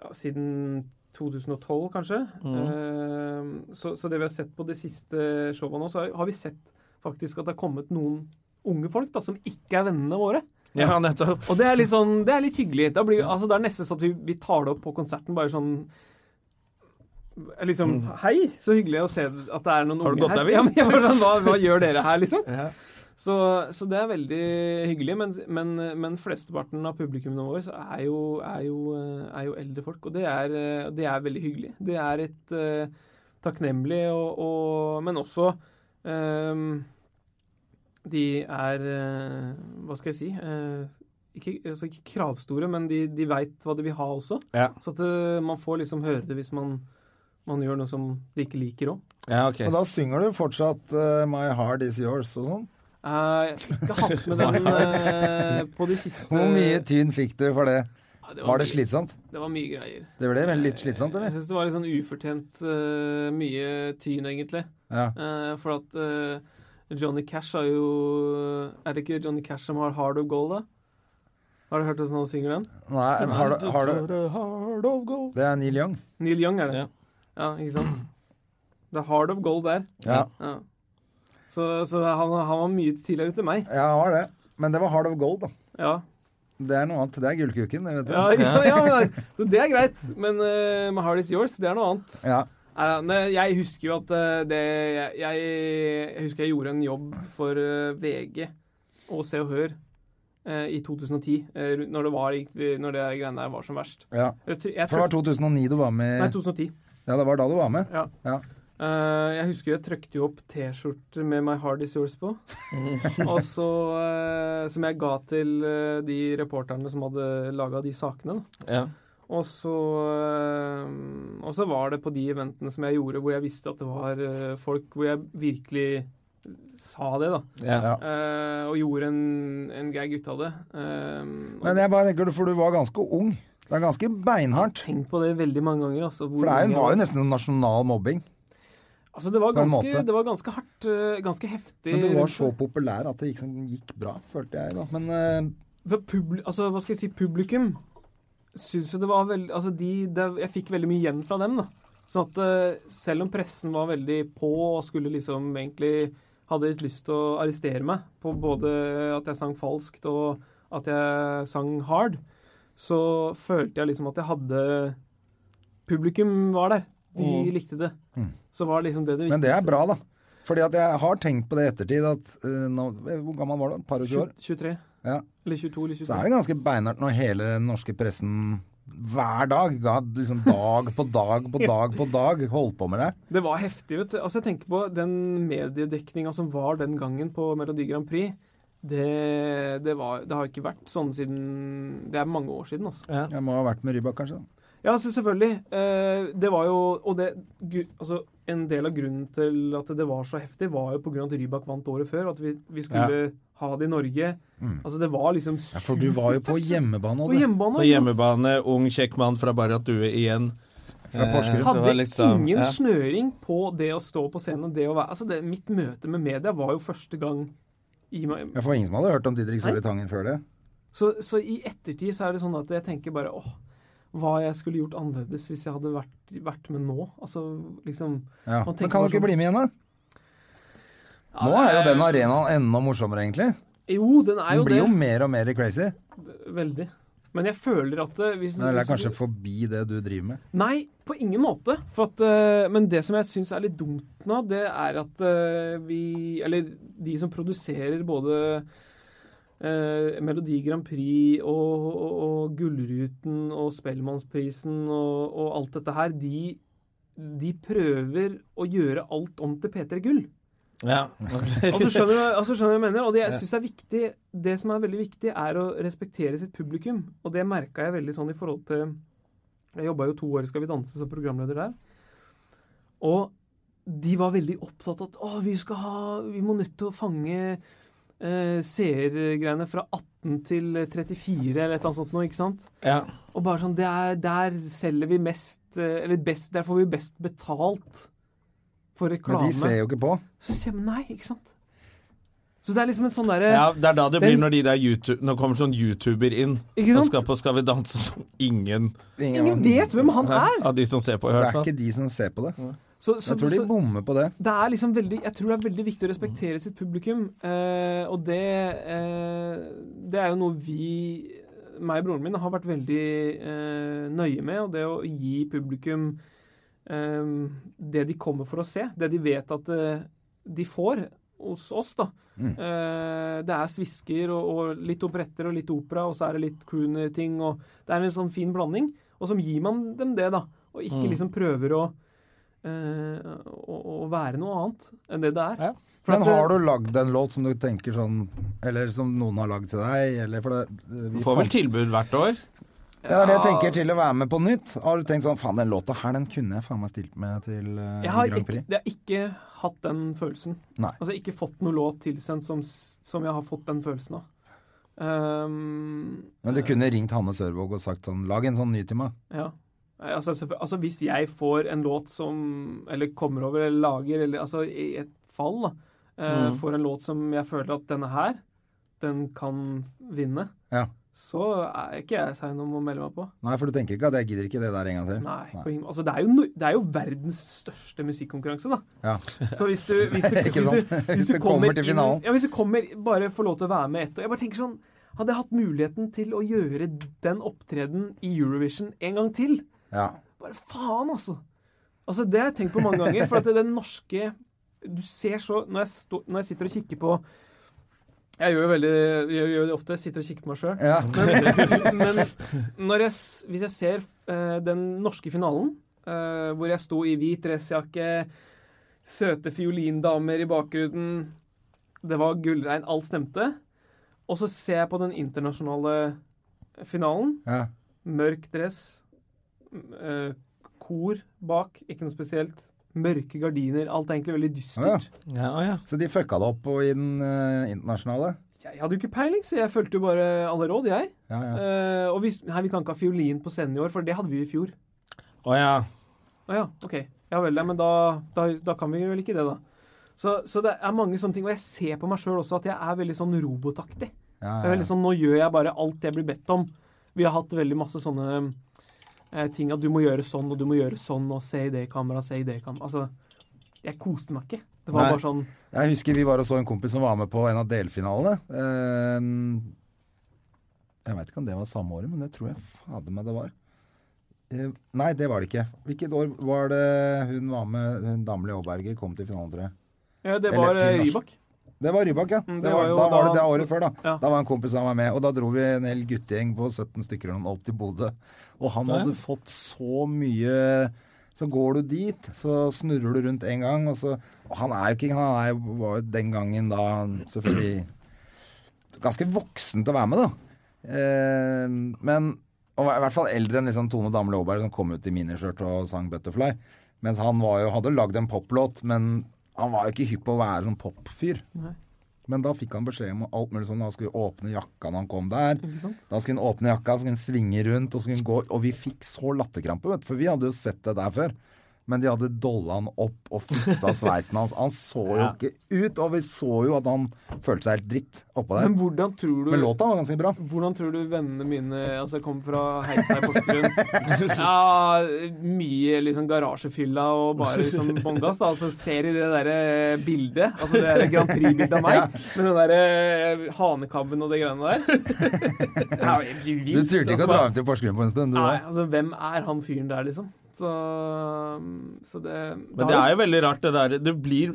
ja, siden 2012, kanskje.
Mm.
Eh, så, så det vi har sett på de siste showa nå, så har, har vi sett faktisk at det har kommet noen unge folk da, som ikke er vennene våre.
Ja, nettopp.
Og det er litt, sånn, det er litt hyggelig. Da blir, altså, det er nesten sånn at vi, vi tar det opp på konserten, bare sånn Liksom Hei, så hyggelig å se at det er noen
Mm. Har du
unge
gått deg
her.
vill?
Ja, men jeg bare sånn, hva, hva gjør dere her, liksom? Så, så det er veldig hyggelig. Men, men, men flesteparten av publikummene våre så er, jo, er, jo, eh, er jo eldre folk, og det er, eh, det er veldig hyggelig. Det er et eh, takknemlig, og, og, men også ehm, De er eh, Hva skal jeg si? eh, ikke, altså ikke kravstore, men de, de veit hva de vil ha også.
Ja.
Så at eh, man får liksom høre det hvis man, man gjør noe som de ikke liker òg.
Ja, ok.
Og da synger du fortsatt eh, My Heart Is Yours og sånn.
Eh, Jeg har ikke hatt med den eh, på de siste
Hvor mye tyn fikk du for det?
Ja,
Var det
mye-
slitsomt?
Det var mye greier.
Det ble vel litt slitsomt,
Jeg
eller?
syns det var litt sånn ufortjent eh, mye tyn, egentlig.
Ja.
Eh, for at eh, Johnny Cash har jo Er det ikke Johnny Cash som har Hard of Gold, da? Har du hørt hvordan han synger den?
Nei, har du, har du
Heart of gold.
Det er Neil Young.
Neil Young er det.
Ja.
ja ikke sant? Det er Hard of Gold der.
Ja,
Ja. Så, så han, han var mye tidligere ute enn meg.
jeg har det. Men det var Heart of Gold, da.
Ja.
Det er noe annet. Det er gullkuken, det vet
Ja,
du.
ikke sant? ja, men, det- så det er greit. Men eh, med Hard Is Yours, det er noe annet.
Ja.
Nei, men jeg husker jo at eh, det jeg, jeg husker jeg gjorde en jobb for eh, VG og Se og Hør eh, i 2010, eh, rundt- når det var egentlig- når det der greiene der var som verst.
ja.
Jeg, tr- jeg
For det var
trøk,
2009 du var
nei,
med
2010.
Ja, det var da du var med.
Ja.
Ja.
Eh, jeg husker jeg trøkte jo opp T-skjorter med My Heart Is Yours på. og så eh, Som jeg ga til eh, de reporterne som hadde laga de sakene. da.
Ja.
Og så eh, Og så var det på de eventene som jeg gjorde, hvor jeg visste at det var eh, folk Hvor jeg virkelig sa det, da.
Ja.
Ja.
Eh, og gjorde en, en gag ut av det. Eh, og
Men jeg bare tenker, for du var ganske ung. Det er ganske beinhardt.
tenkt på det veldig mange ganger. Altså, hvor
For det er
ung
jo,
jeg
var jo nesten en nasjonal mobbing.
altså, det, var
på en
ganske,
måte.
det var ganske hardt, eh, ganske heftig.
Men du var
rundt
så
det.
populær at det gikk, sånn- gikk bra, følte jeg da. Men eh,
For publi altså, hva skal jeg si, publikum syns jo det var veldig Altså, de, det, jeg fikk veldig mye igjen fra dem, da. Sånn at eh, selv om pressen var veldig på og skulle liksom egentlig Hadde litt lyst til å arrestere meg på både at jeg sang falskt og at jeg sang hard, så følte jeg liksom at jeg hadde Publikum var der. De likte det. Så var det liksom det det
Mm. men
viktigste.
det er bra, da. Fordi at jeg har tenkt på det i ettertid at eh, nå, Hvor gammel var du? Et par og tjue år?
23.
Ja.
Eller 22 eller 23.
Så er det ganske beinhardt når hele den norske pressen hver dag, ga liksom dag på dag på dag på dag, holdt på med det.
Det var heftig, vet du. Altså, jeg tenker på den mediedekninga som var den gangen på Melodi Grand Prix. Det, det, var, det har ikke vært sånn siden Det er mange år siden, altså.
Jeg må ha vært med Rybak, kanskje. da.
Ja, så selvfølgelig. Eh, Det var jo Og det gu- Altså, en del av grunnen til at det var så heftig, var jo på grunn av at Rybak vant året før, og at vi, vi skulle ha det i Norge.
Mm.
Altså, det var liksom
Ja, for du var jo på
superfest.
hjemmebane.
På
du.
hjemmebane.
På
ikke sant?
hjemmebane, ung kjekk mann fra Barrat Due igjen.
Fra Porsgrunn.
Det var
Hadde
liksom-
ingen
ja.
snøring på det å stå på scenen. Det å være, altså det, mitt møte med media var jo første gang i meg.
Ja, for ingen som hadde hørt om Didrik Solli Tangen før det.
Så, så i ettertid så er det sånn at jeg tenker bare åh, hva jeg skulle gjort annerledes hvis jeg hadde vært, vært med nå. Altså liksom
Ja.
Man tenker
Men kan
bare
du ikke
sånn-
bli med igjen, da? Nå er jo den arenaen enda morsommere, egentlig.
Jo, den er
Den
jo
blir jo
det.
mer og mer crazy.
Veldig. Men jeg føler at eh, hvis,
Eller det er
hvis
kanskje forbi det du driver med.
Nei, på ingen måte. For at, eh, men det som jeg syns er litt dumt nå, det er at eh, vi Eller de som produserer både eh, Melodi Grand Prix og, og, og Gullruten og Spellemannsprisen og, og alt dette her, de, de prøver å gjøre alt om til P3 Gull.
Ja.
Altså skjønner, du, altså skjønner du hva jeg mener, og det jeg synes er viktig, det som er veldig viktig, er å respektere sitt publikum. Og det merka jeg veldig sånn i forhold til Jeg jobba jo to år i Skal vi danse som programleder der. Og de var veldig opptatt av at å, vi skal ha Vi må nødt til å fange eh, seergreiene fra 18 til 34 eller et eller annet sånt noe, ikke sant?
ja.
Og bare sånn, det er, Der selger vi mest eh, Eller best, der får vi best betalt for
Men
reklame.
de ser jo ikke på.
Så sier jeg nei, ikke sant? Så det er liksom en sånn derre
ja, det er da det
Den-
blir når de der YouTube, Nå kommer sånn YouTuber inn
Ikke
og
sant?
skal på Skal vi danse som ingen
Ingen vet hvem han er!
av de som ser på, i
Det
hvert
er
fall.
ikke de som ser på det.
Så, så,
Jeg tror de
så
bommer på det.
det er liksom veldig Jeg tror det er veldig viktig å respektere sitt publikum, eh, og det eh, Det er jo noe vi meg og broren min har vært veldig eh, nøye med, og det å gi publikum eh, det de kommer for å se, det de vet at eh, de får hos oss, da.
Mm.
Eh, det er svisker og, og litt operetter og litt opera, og så er det litt crooner-ting, og det er en sånn fin blanding. Og som gir man dem det, da, og ikke
Mm.
liksom prøver å, eh, å, å være noe annet enn det det er.
Ja.
For
Men
at det-
har du lagd en låt som du tenker sånn Eller som noen har lagd til deg, eller for det eh, vi
Får vel
fant-
tilbud hvert år.
Det er det jeg tenker til å være med på nytt. Har du tenkt sånn Faen, den låta her, den kunne jeg faen meg stilt med til eh,
Jeg har,
Grand
ikke,
Prix.
jeg har ikke hatt den følelsen.
Nei.
Altså ikke fått noe låt tilsendt som, s- som jeg har fått den følelsen av. Ehm,
Men du kunne ringt Hanne Sørvåg og sagt sånn Lag en sånn ny til meg.
ja. Nei, Altså, selvfø- altså hvis jeg får en låt som Eller kommer over eller lager, eller altså i et fall, da. eh, Får en låt som jeg føler at denne her, den kan vinne,
Ja.
så er ikke jeg sein om å melde meg på.
Nei, for du tenker ikke at jeg gidder ikke det der en gang til.
Nei. På ingen, altså det, er jo, no- det er jo verdens største musikkonkurranse, da.
Ja.
Så hvis du, hvis du, hvis
Ikke
du,
sant?
hvis du,
Hvis du
kommer
kommer til
inn-
finalen.
Ja, hvis du kommer, bare får lov til å være med ett år. Jeg bare tenker sånn Hadde jeg hatt muligheten til å gjøre den opptredenen i Eurovision en gang til
Ja.
Bare faen, altså! Altså, Det har jeg tenkt på mange ganger. For at den norske Du ser så Når jeg, står- når jeg sitter og kikker på Jeg gjør jo veldig Jeg gjør det ofte. Jeg sitter og kikker på meg sjøl.
ja.
Men når jeg, s- hvis jeg ser eh, den norske finalen, eh, hvor jeg sto i hvit dressjakke, søte fiolindamer i bakgrunnen Det var gullregn, alt stemte. Og så ser jeg på den internasjonale finalen.
ja.
Mørk dress, m- eh, kor bak, ikke noe spesielt. Mørke gardiner. Alt er egentlig veldig dystert.
Ja, å ja.
Så de fucka det opp på, i den eh, internasjonale?
Jeg hadde jo ikke peiling, så jeg fulgte jo bare alle råd, jeg.
Ja, ja.
Eh, og hvis, nei, vi kan ikke ha fiolin på scenen i år, for det hadde vi jo i fjor.
Å ja.
Å ja, OK. Ja vel, ja, men da, da, da kan vi vel ikke det, da. Så, så det er mange sånne ting. Og jeg ser på meg sjøl også at jeg er veldig sånn robotaktig.
ja,
Jeg er veldig sånn, Nå gjør jeg bare alt jeg blir bedt om. Vi har hatt veldig masse sånne eh, ting at du må gjøre sånn, og du må gjøre sånn, og se i det kamera, se i det kamera. Altså, jeg koste meg ikke. Det var
Nei.
bare sånn
Jeg husker vi var og så en kompis som var med på en av delfinalene. Eh, jeg veit ikke om det var samme året, men det tror jeg fader meg det var. Eh, nei, det var det ikke. Hvilket år var det hun var med, hun Damli Aaberge, kom til finalen, tror jeg.
ja, Det
Eller
var
til
eh,
norsk.
Rybak.
Det var Rybak, ja.
Mm,
det var, da var det det året før, da.
Ja.
Da var en kompis av meg med. Og da dro vi en hel guttegjeng på 17 stykker eller noe, opp til Bodø. Og han hadde fått så mye Så går du dit, så snurrer du rundt en gang, og så og Han er jo ikke Han er, jo- var jo den gangen da han selvfølgelig ganske voksen til å være med, da. Eh, men og i hvert fall eldre enn liksom Tone Damli Aaberg, som kom ut i miniskjørt og sang 'Butterfly'. Mens han var jo, hadde lagd en poplåt, men han var jo ikke hypp på å være sånn popfyr. Men da fikk han beskjed om alt mulig sånn. Han skulle åpne jakka når han kom der. Da skulle han åpne jakka, så skulle han svinge rundt, og så skulle han gå Og vi fikk så latterkrampe, vet du, for vi hadde jo sett det der før. Men de hadde dolla han opp og fiksa sveisen hans. Han så jo ikke ut, og vi så jo at han følte seg helt dritt oppå der.
Men hvordan tror du
Men låta var ganske bra.
Hvordan tror du vennene mine Altså, jeg kommer fra Heisa i Porsgrunn. Ja, mye liksom garasjefylla og bare liksom bånngass. da. Altså, ser i det derre bildet, altså det derre Grand Prix-bildet av meg, med den derre hanekabben og de greiene der. Det er jo helt
Du
vilt.
turte ikke å
altså,
dra hjem til Porsgrunn på en stund, du
Nei,
da?
altså, hvem er han fyren der, liksom? Så, så det
Men det er jo veldig rart, det der Det blir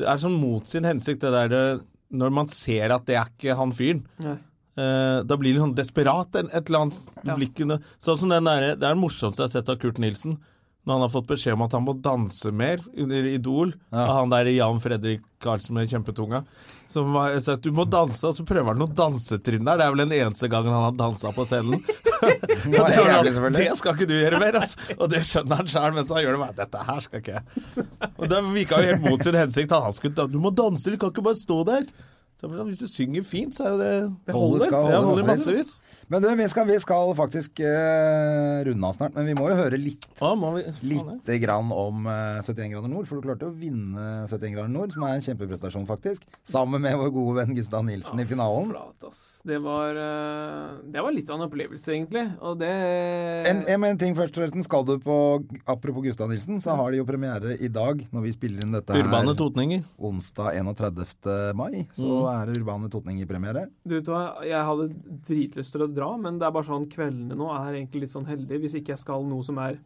Det er sånn mot sin hensikt, det der eh, når man ser at det er ikke han fyren.
Nei.
Eh, da blir det sånn desperat en- et eller annet
Ja.
blikkene Sånn som den der, Det er det morsomste jeg har sett av Kurt Nilsen. Når han har fått beskjed om at han må danse mer under Idol
Ja.
av han der Jan Fredrik Karlsen med kjempetunga. Som var, så at du må danse, og så prøver han noen dansetrinn der. Det er vel den eneste gangen han har dansa på scenen.
Det var
Det, var
jævlig,
sånn,
selvfølgelig.
det skal ikke du gjøre mer, altså. Og det skjønner han sjøl, mens han gjør det bare Dette her skal ikke jeg. Og det virka jo helt mot sin hensikt. at Han skulle da- Du må danse, du kan ikke bare stå der. Så jeg bare sånn, Hvis du synger fint, så er jo det
Holdet
Det holder.
skal
Det
holde
holder
massevis.
massevis.
Men du, vi skal, vi skal faktisk eh, runde av snart, men vi må jo høre litt
Å, må vi- faen,
lite grann om eh, 71 grader nord, for du klarte å vinne 71 grader nord, som er en kjempeprestasjon, faktisk. Sammen med vår gode venn Gustav Nilsen
Ah,
i finalen.
Flat, ass. Det var, eh, det var litt av en opplevelse, egentlig. Og det
En, en, en ting først, forresten. Skal du på Apropos Gustav Nilsen, så har de jo premiere i dag, når vi spiller inn dette
ja. Urbane
her
totninger.
onsdag 31. mai. Så er det Urbane Totning i premiere.
Du vet hva, jeg hadde dritlyst til å dra, men det er bare sånn kveldene nå er egentlig litt sånn heldige, hvis ikke jeg skal noe som er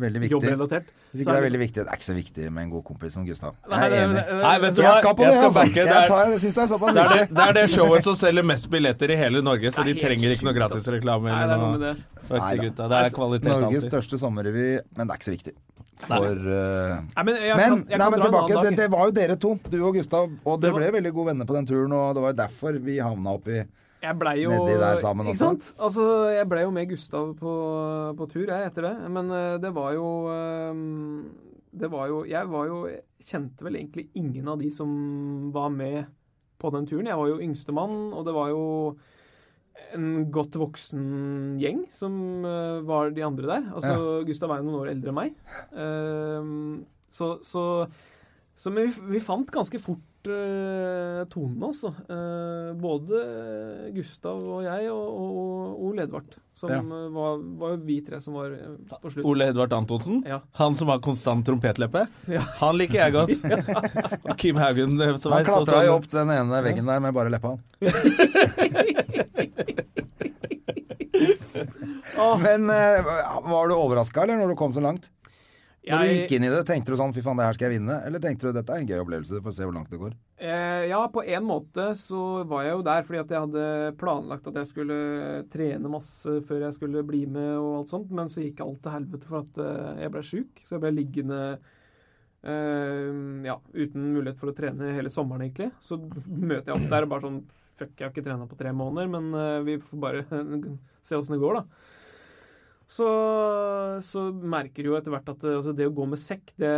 Veldig viktig.
jobbrelatert.
Hvis ikke
så
det er
liksom-
veldig viktig, det er ikke så viktig med en god kompis som Gustav.
Nei,
Jeg er
det-
enig.
det-
Nei, vet du
Så
hva,
jeg skal på det,
jeg skal
altså.
backe. Det
Jeg,
er
tar, jeg synes det er såpass
det, er det,
viktig.
det er det showet som selger mest billetter i hele Norge, så de
Det er helt
trenger ikke noe
sjukt,
gratis
ass.
reklame
Nei, det er
eller
noe med
noe.
det.
Fuck de
Neida.
gutta. Det er kvalitet
Norges
alltid.
største sommerrevy, men det er ikke så viktig. For eh,
Nei, men jeg
Men,
kan, jeg
nei,
kan
men
dra
tilbake,
en
det,
annen
det
dag.
var jo dere to, du og Gustav. Og
Det
dere
var-
ble veldig gode venner på den turen, og det var jo derfor vi havna oppi
Jeg blei jo
nedi der sammen
Ikke
også.
sant? Altså, jeg blei jo med Gustav på, på tur, jeg, etter det. Men eh, det var jo eh, Det var jo Jeg var jo jeg Kjente vel egentlig ingen av de som var med på den turen. Jeg var jo yngstemann, og det var jo en godt voksen gjeng som eh, var de andre der. Altså, Gustav er jo noen år eldre enn meg. Eh, så, så, så Men vi, vi fant ganske fort eh, tonen, altså. Eh, både Gustav og jeg og, og, og Ole Edvard. Som
Ja.
eh, var, var jo vi tre som var eh, på slutt.
Ole Edvard Antonsen,
Ja.
han som har konstant trompetleppe,
Ja.
han liker jeg godt. Og Kim Haugen eh, som
Han
er så
klatra jo
sånn
opp den ene veggen der med bare leppa. Men eh, var du overraska, eller, når du kom så langt? Når du
Jeg-
gikk inn i det, tenkte du sånn 'fy faen, det her skal jeg vinne'? Eller tenkte du 'dette er en gøy opplevelse, får se hvor langt det går'?
Eh, ja, på en måte så var jeg jo der fordi at jeg hadde planlagt at jeg skulle trene masse før jeg skulle bli med og alt sånt, men så gikk alt til helvete for at eh, jeg ble sjuk. Så jeg ble liggende eh, ja, uten mulighet for å trene hele sommeren, egentlig. Så møter jeg opp der og bare sånn Fuck, jeg har ikke trena på tre måneder, men eh, vi får bare se åssen det går, da så, så merker du jo etter hvert at eh, altså, det å gå med sekk det,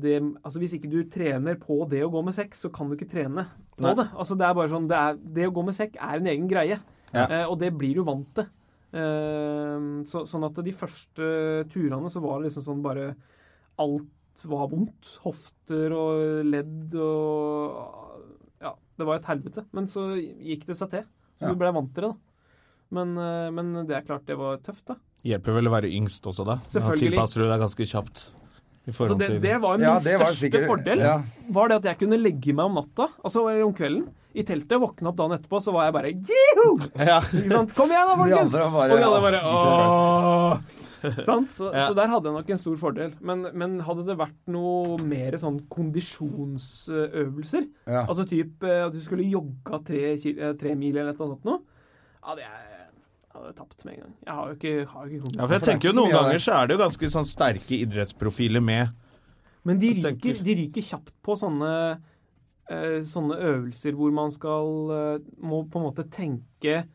det, altså, Hvis ikke du trener på det å gå med sekk, så kan du ikke trene på
Nei.
det. Altså, det, er bare sånn, det, er, det å gå med sekk er en egen greie,
Ja.
eh, og det blir du vant til. Eh, så, sånn at de første turene så var det liksom sånn bare Alt var vondt. Hofter og ledd og Ja, det var et helvete. Men så gikk det seg til. Så
Ja.
du blei vant til det, da. Men, eh, men det er klart det var tøft, da.
Hjelper vel å være yngst også, da. Da
Selvfølgelig.
tilpasser du deg ganske kjapt. I
Så
forhold
det,
til
det var jo min
Ja, det var
største
sikkert-
fordel.
ja.
Var det at jeg kunne legge meg om natta, altså eller om kvelden, i teltet, våkne opp dagen etterpå, så var jeg bare Jiho!
Ja.
Ikke sant? Kom igjen da, folkens!
andre var bare,
og de andre bare
«Åh, Jesus
«Åh!» Sant? Så,
Ja.
så der hadde jeg nok en stor fordel. Men, men hadde det vært noe mer sånn kondisjonsøvelser,
Ja.
altså typ eh, at du skulle jogga tre, kil- eh, tre mil eller noe sånt noe, hadde jeg, hadde jeg tapt med en gang. Jeg har jo ikke, har jo ikke
Ja,
kondisjon.
for jeg tenker jo
ikke så
Noen
mye av
ganger
det.
så er det jo ganske sånn sterke idrettsprofiler med.
Men de
Jeg tenker-
ryker, de ryker kjapt på sånne eh, sånne øvelser hvor man skal eh, må på en måte tenke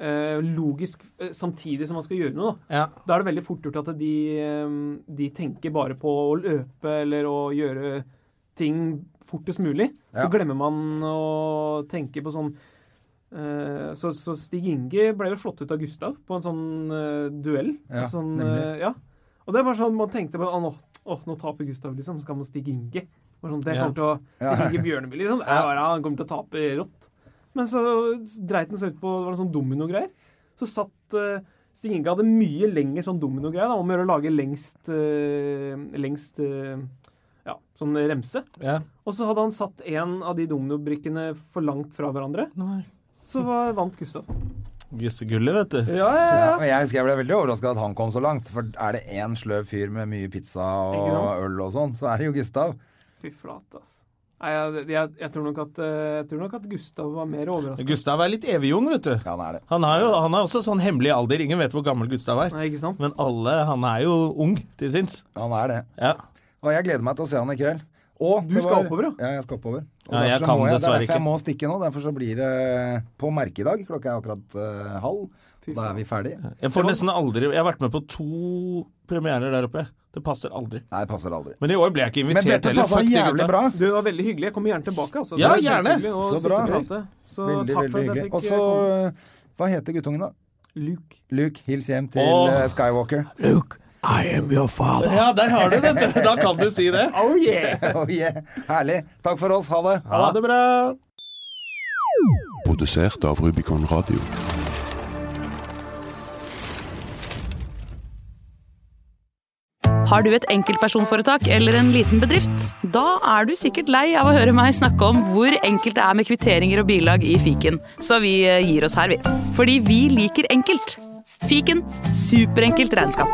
eh, logisk eh, samtidig som man skal gjøre noe. Da.
Ja.
da er det veldig fort gjort at de, eh, de tenker bare på å løpe eller å gjøre ting fortest mulig.
Ja.
Så glemmer man å tenke på sånn eh, så, så Stig Inge ble jo slått ut av Gustav på en sånn eh, duell.
Ja,
sånn,
nemlig.
eh, ja. Og det er bare sånn man tenkte på Å, nå, å, nå taper Gustav, liksom. Skal man Stig Inge? Bare sånn, det
Ja.
kommer til å Stig Inge Bjørneby, liksom. Det er bare, han kommer til å tape rått. Men så dreit den seg ut på det var noen sånn dominogreier. Så satt eh, Stig Inge hadde mye lenger sånn dominogreier da, om å gjøre å lage lengst, eh, lengst eh, ja, sånn remse.
Ja.
Og så hadde han satt en av de dominobrikkene for langt fra hverandre.
Nei.
Så var, vant Gustav.
Gussegullet, vet du.
Ja, ja,
Ja,
ja.
og jeg husker jeg ble veldig overraska at han kom så langt. For er det én sløv fyr med mye pizza
Ikke
og
sant?
øl og sånn, så er det jo Gustav.
Fy flate, altså. Nei, jeg, jeg, jeg, tror nok at, eh, jeg tror nok at Gustav var mer overraska.
Gustav er litt evigjung, vet du.
Ja, han er det.
Han har jo han har også sånn hemmelig alder. Ingen vet hvor gammel Gustav er.
Nei, ikke sant?
Men alle Han er jo ung til sinns.
Han er det.
Ja.
Og jeg gleder meg til å se han i kveld. Og
Du
det
skal oppover, ja?
ja? jeg skal oppover. Og
Ja, jeg
derfor så
kan
må Det
dessverre
er derfor
ikke.
jeg må stikke nå. Derfor så blir det på merke i dag. Klokka er akkurat eh, halv.
Fy
Og da er vi ferdig. Nei,
Jeg får nesten aldri Jeg har vært med på to premierer der oppe. Det passer aldri.
det passer aldri.
Men i år ble jeg ikke
Men
invitert
dette
heller.
passa
Fuck de
jævlig
gutta.
bra.
Du, det var veldig hyggelig. Jeg kommer gjerne tilbake. Altså.
Ja,
Det var
gjerne.
kjempehyggelig å
Så
sitte
bra.
og prate. Så
Veldig,
takk for
veldig
at
hyggelig.
jeg fikk
Og så
komme.
eh, Hva heter guttungen, da?
Luke.
Luke, hils hjem til
Åh.
eh, Skywalker.
Ja, der har du det! vet du. Da kan du si det.
Oh yeah!
Oh, yeah. Herlig. Takk for oss. Ha det.
Ha det bra.
Produsert av Rubicon Radio.
Har du et enkeltpersonforetak eller en liten bedrift? Da er du sikkert lei av å høre meg snakke om hvor enkelt det er med kvitteringer og bilag i fiken, eh, så vi gir oss her, vi. Fordi vi liker enkelt. Fiken superenkelt regnskap.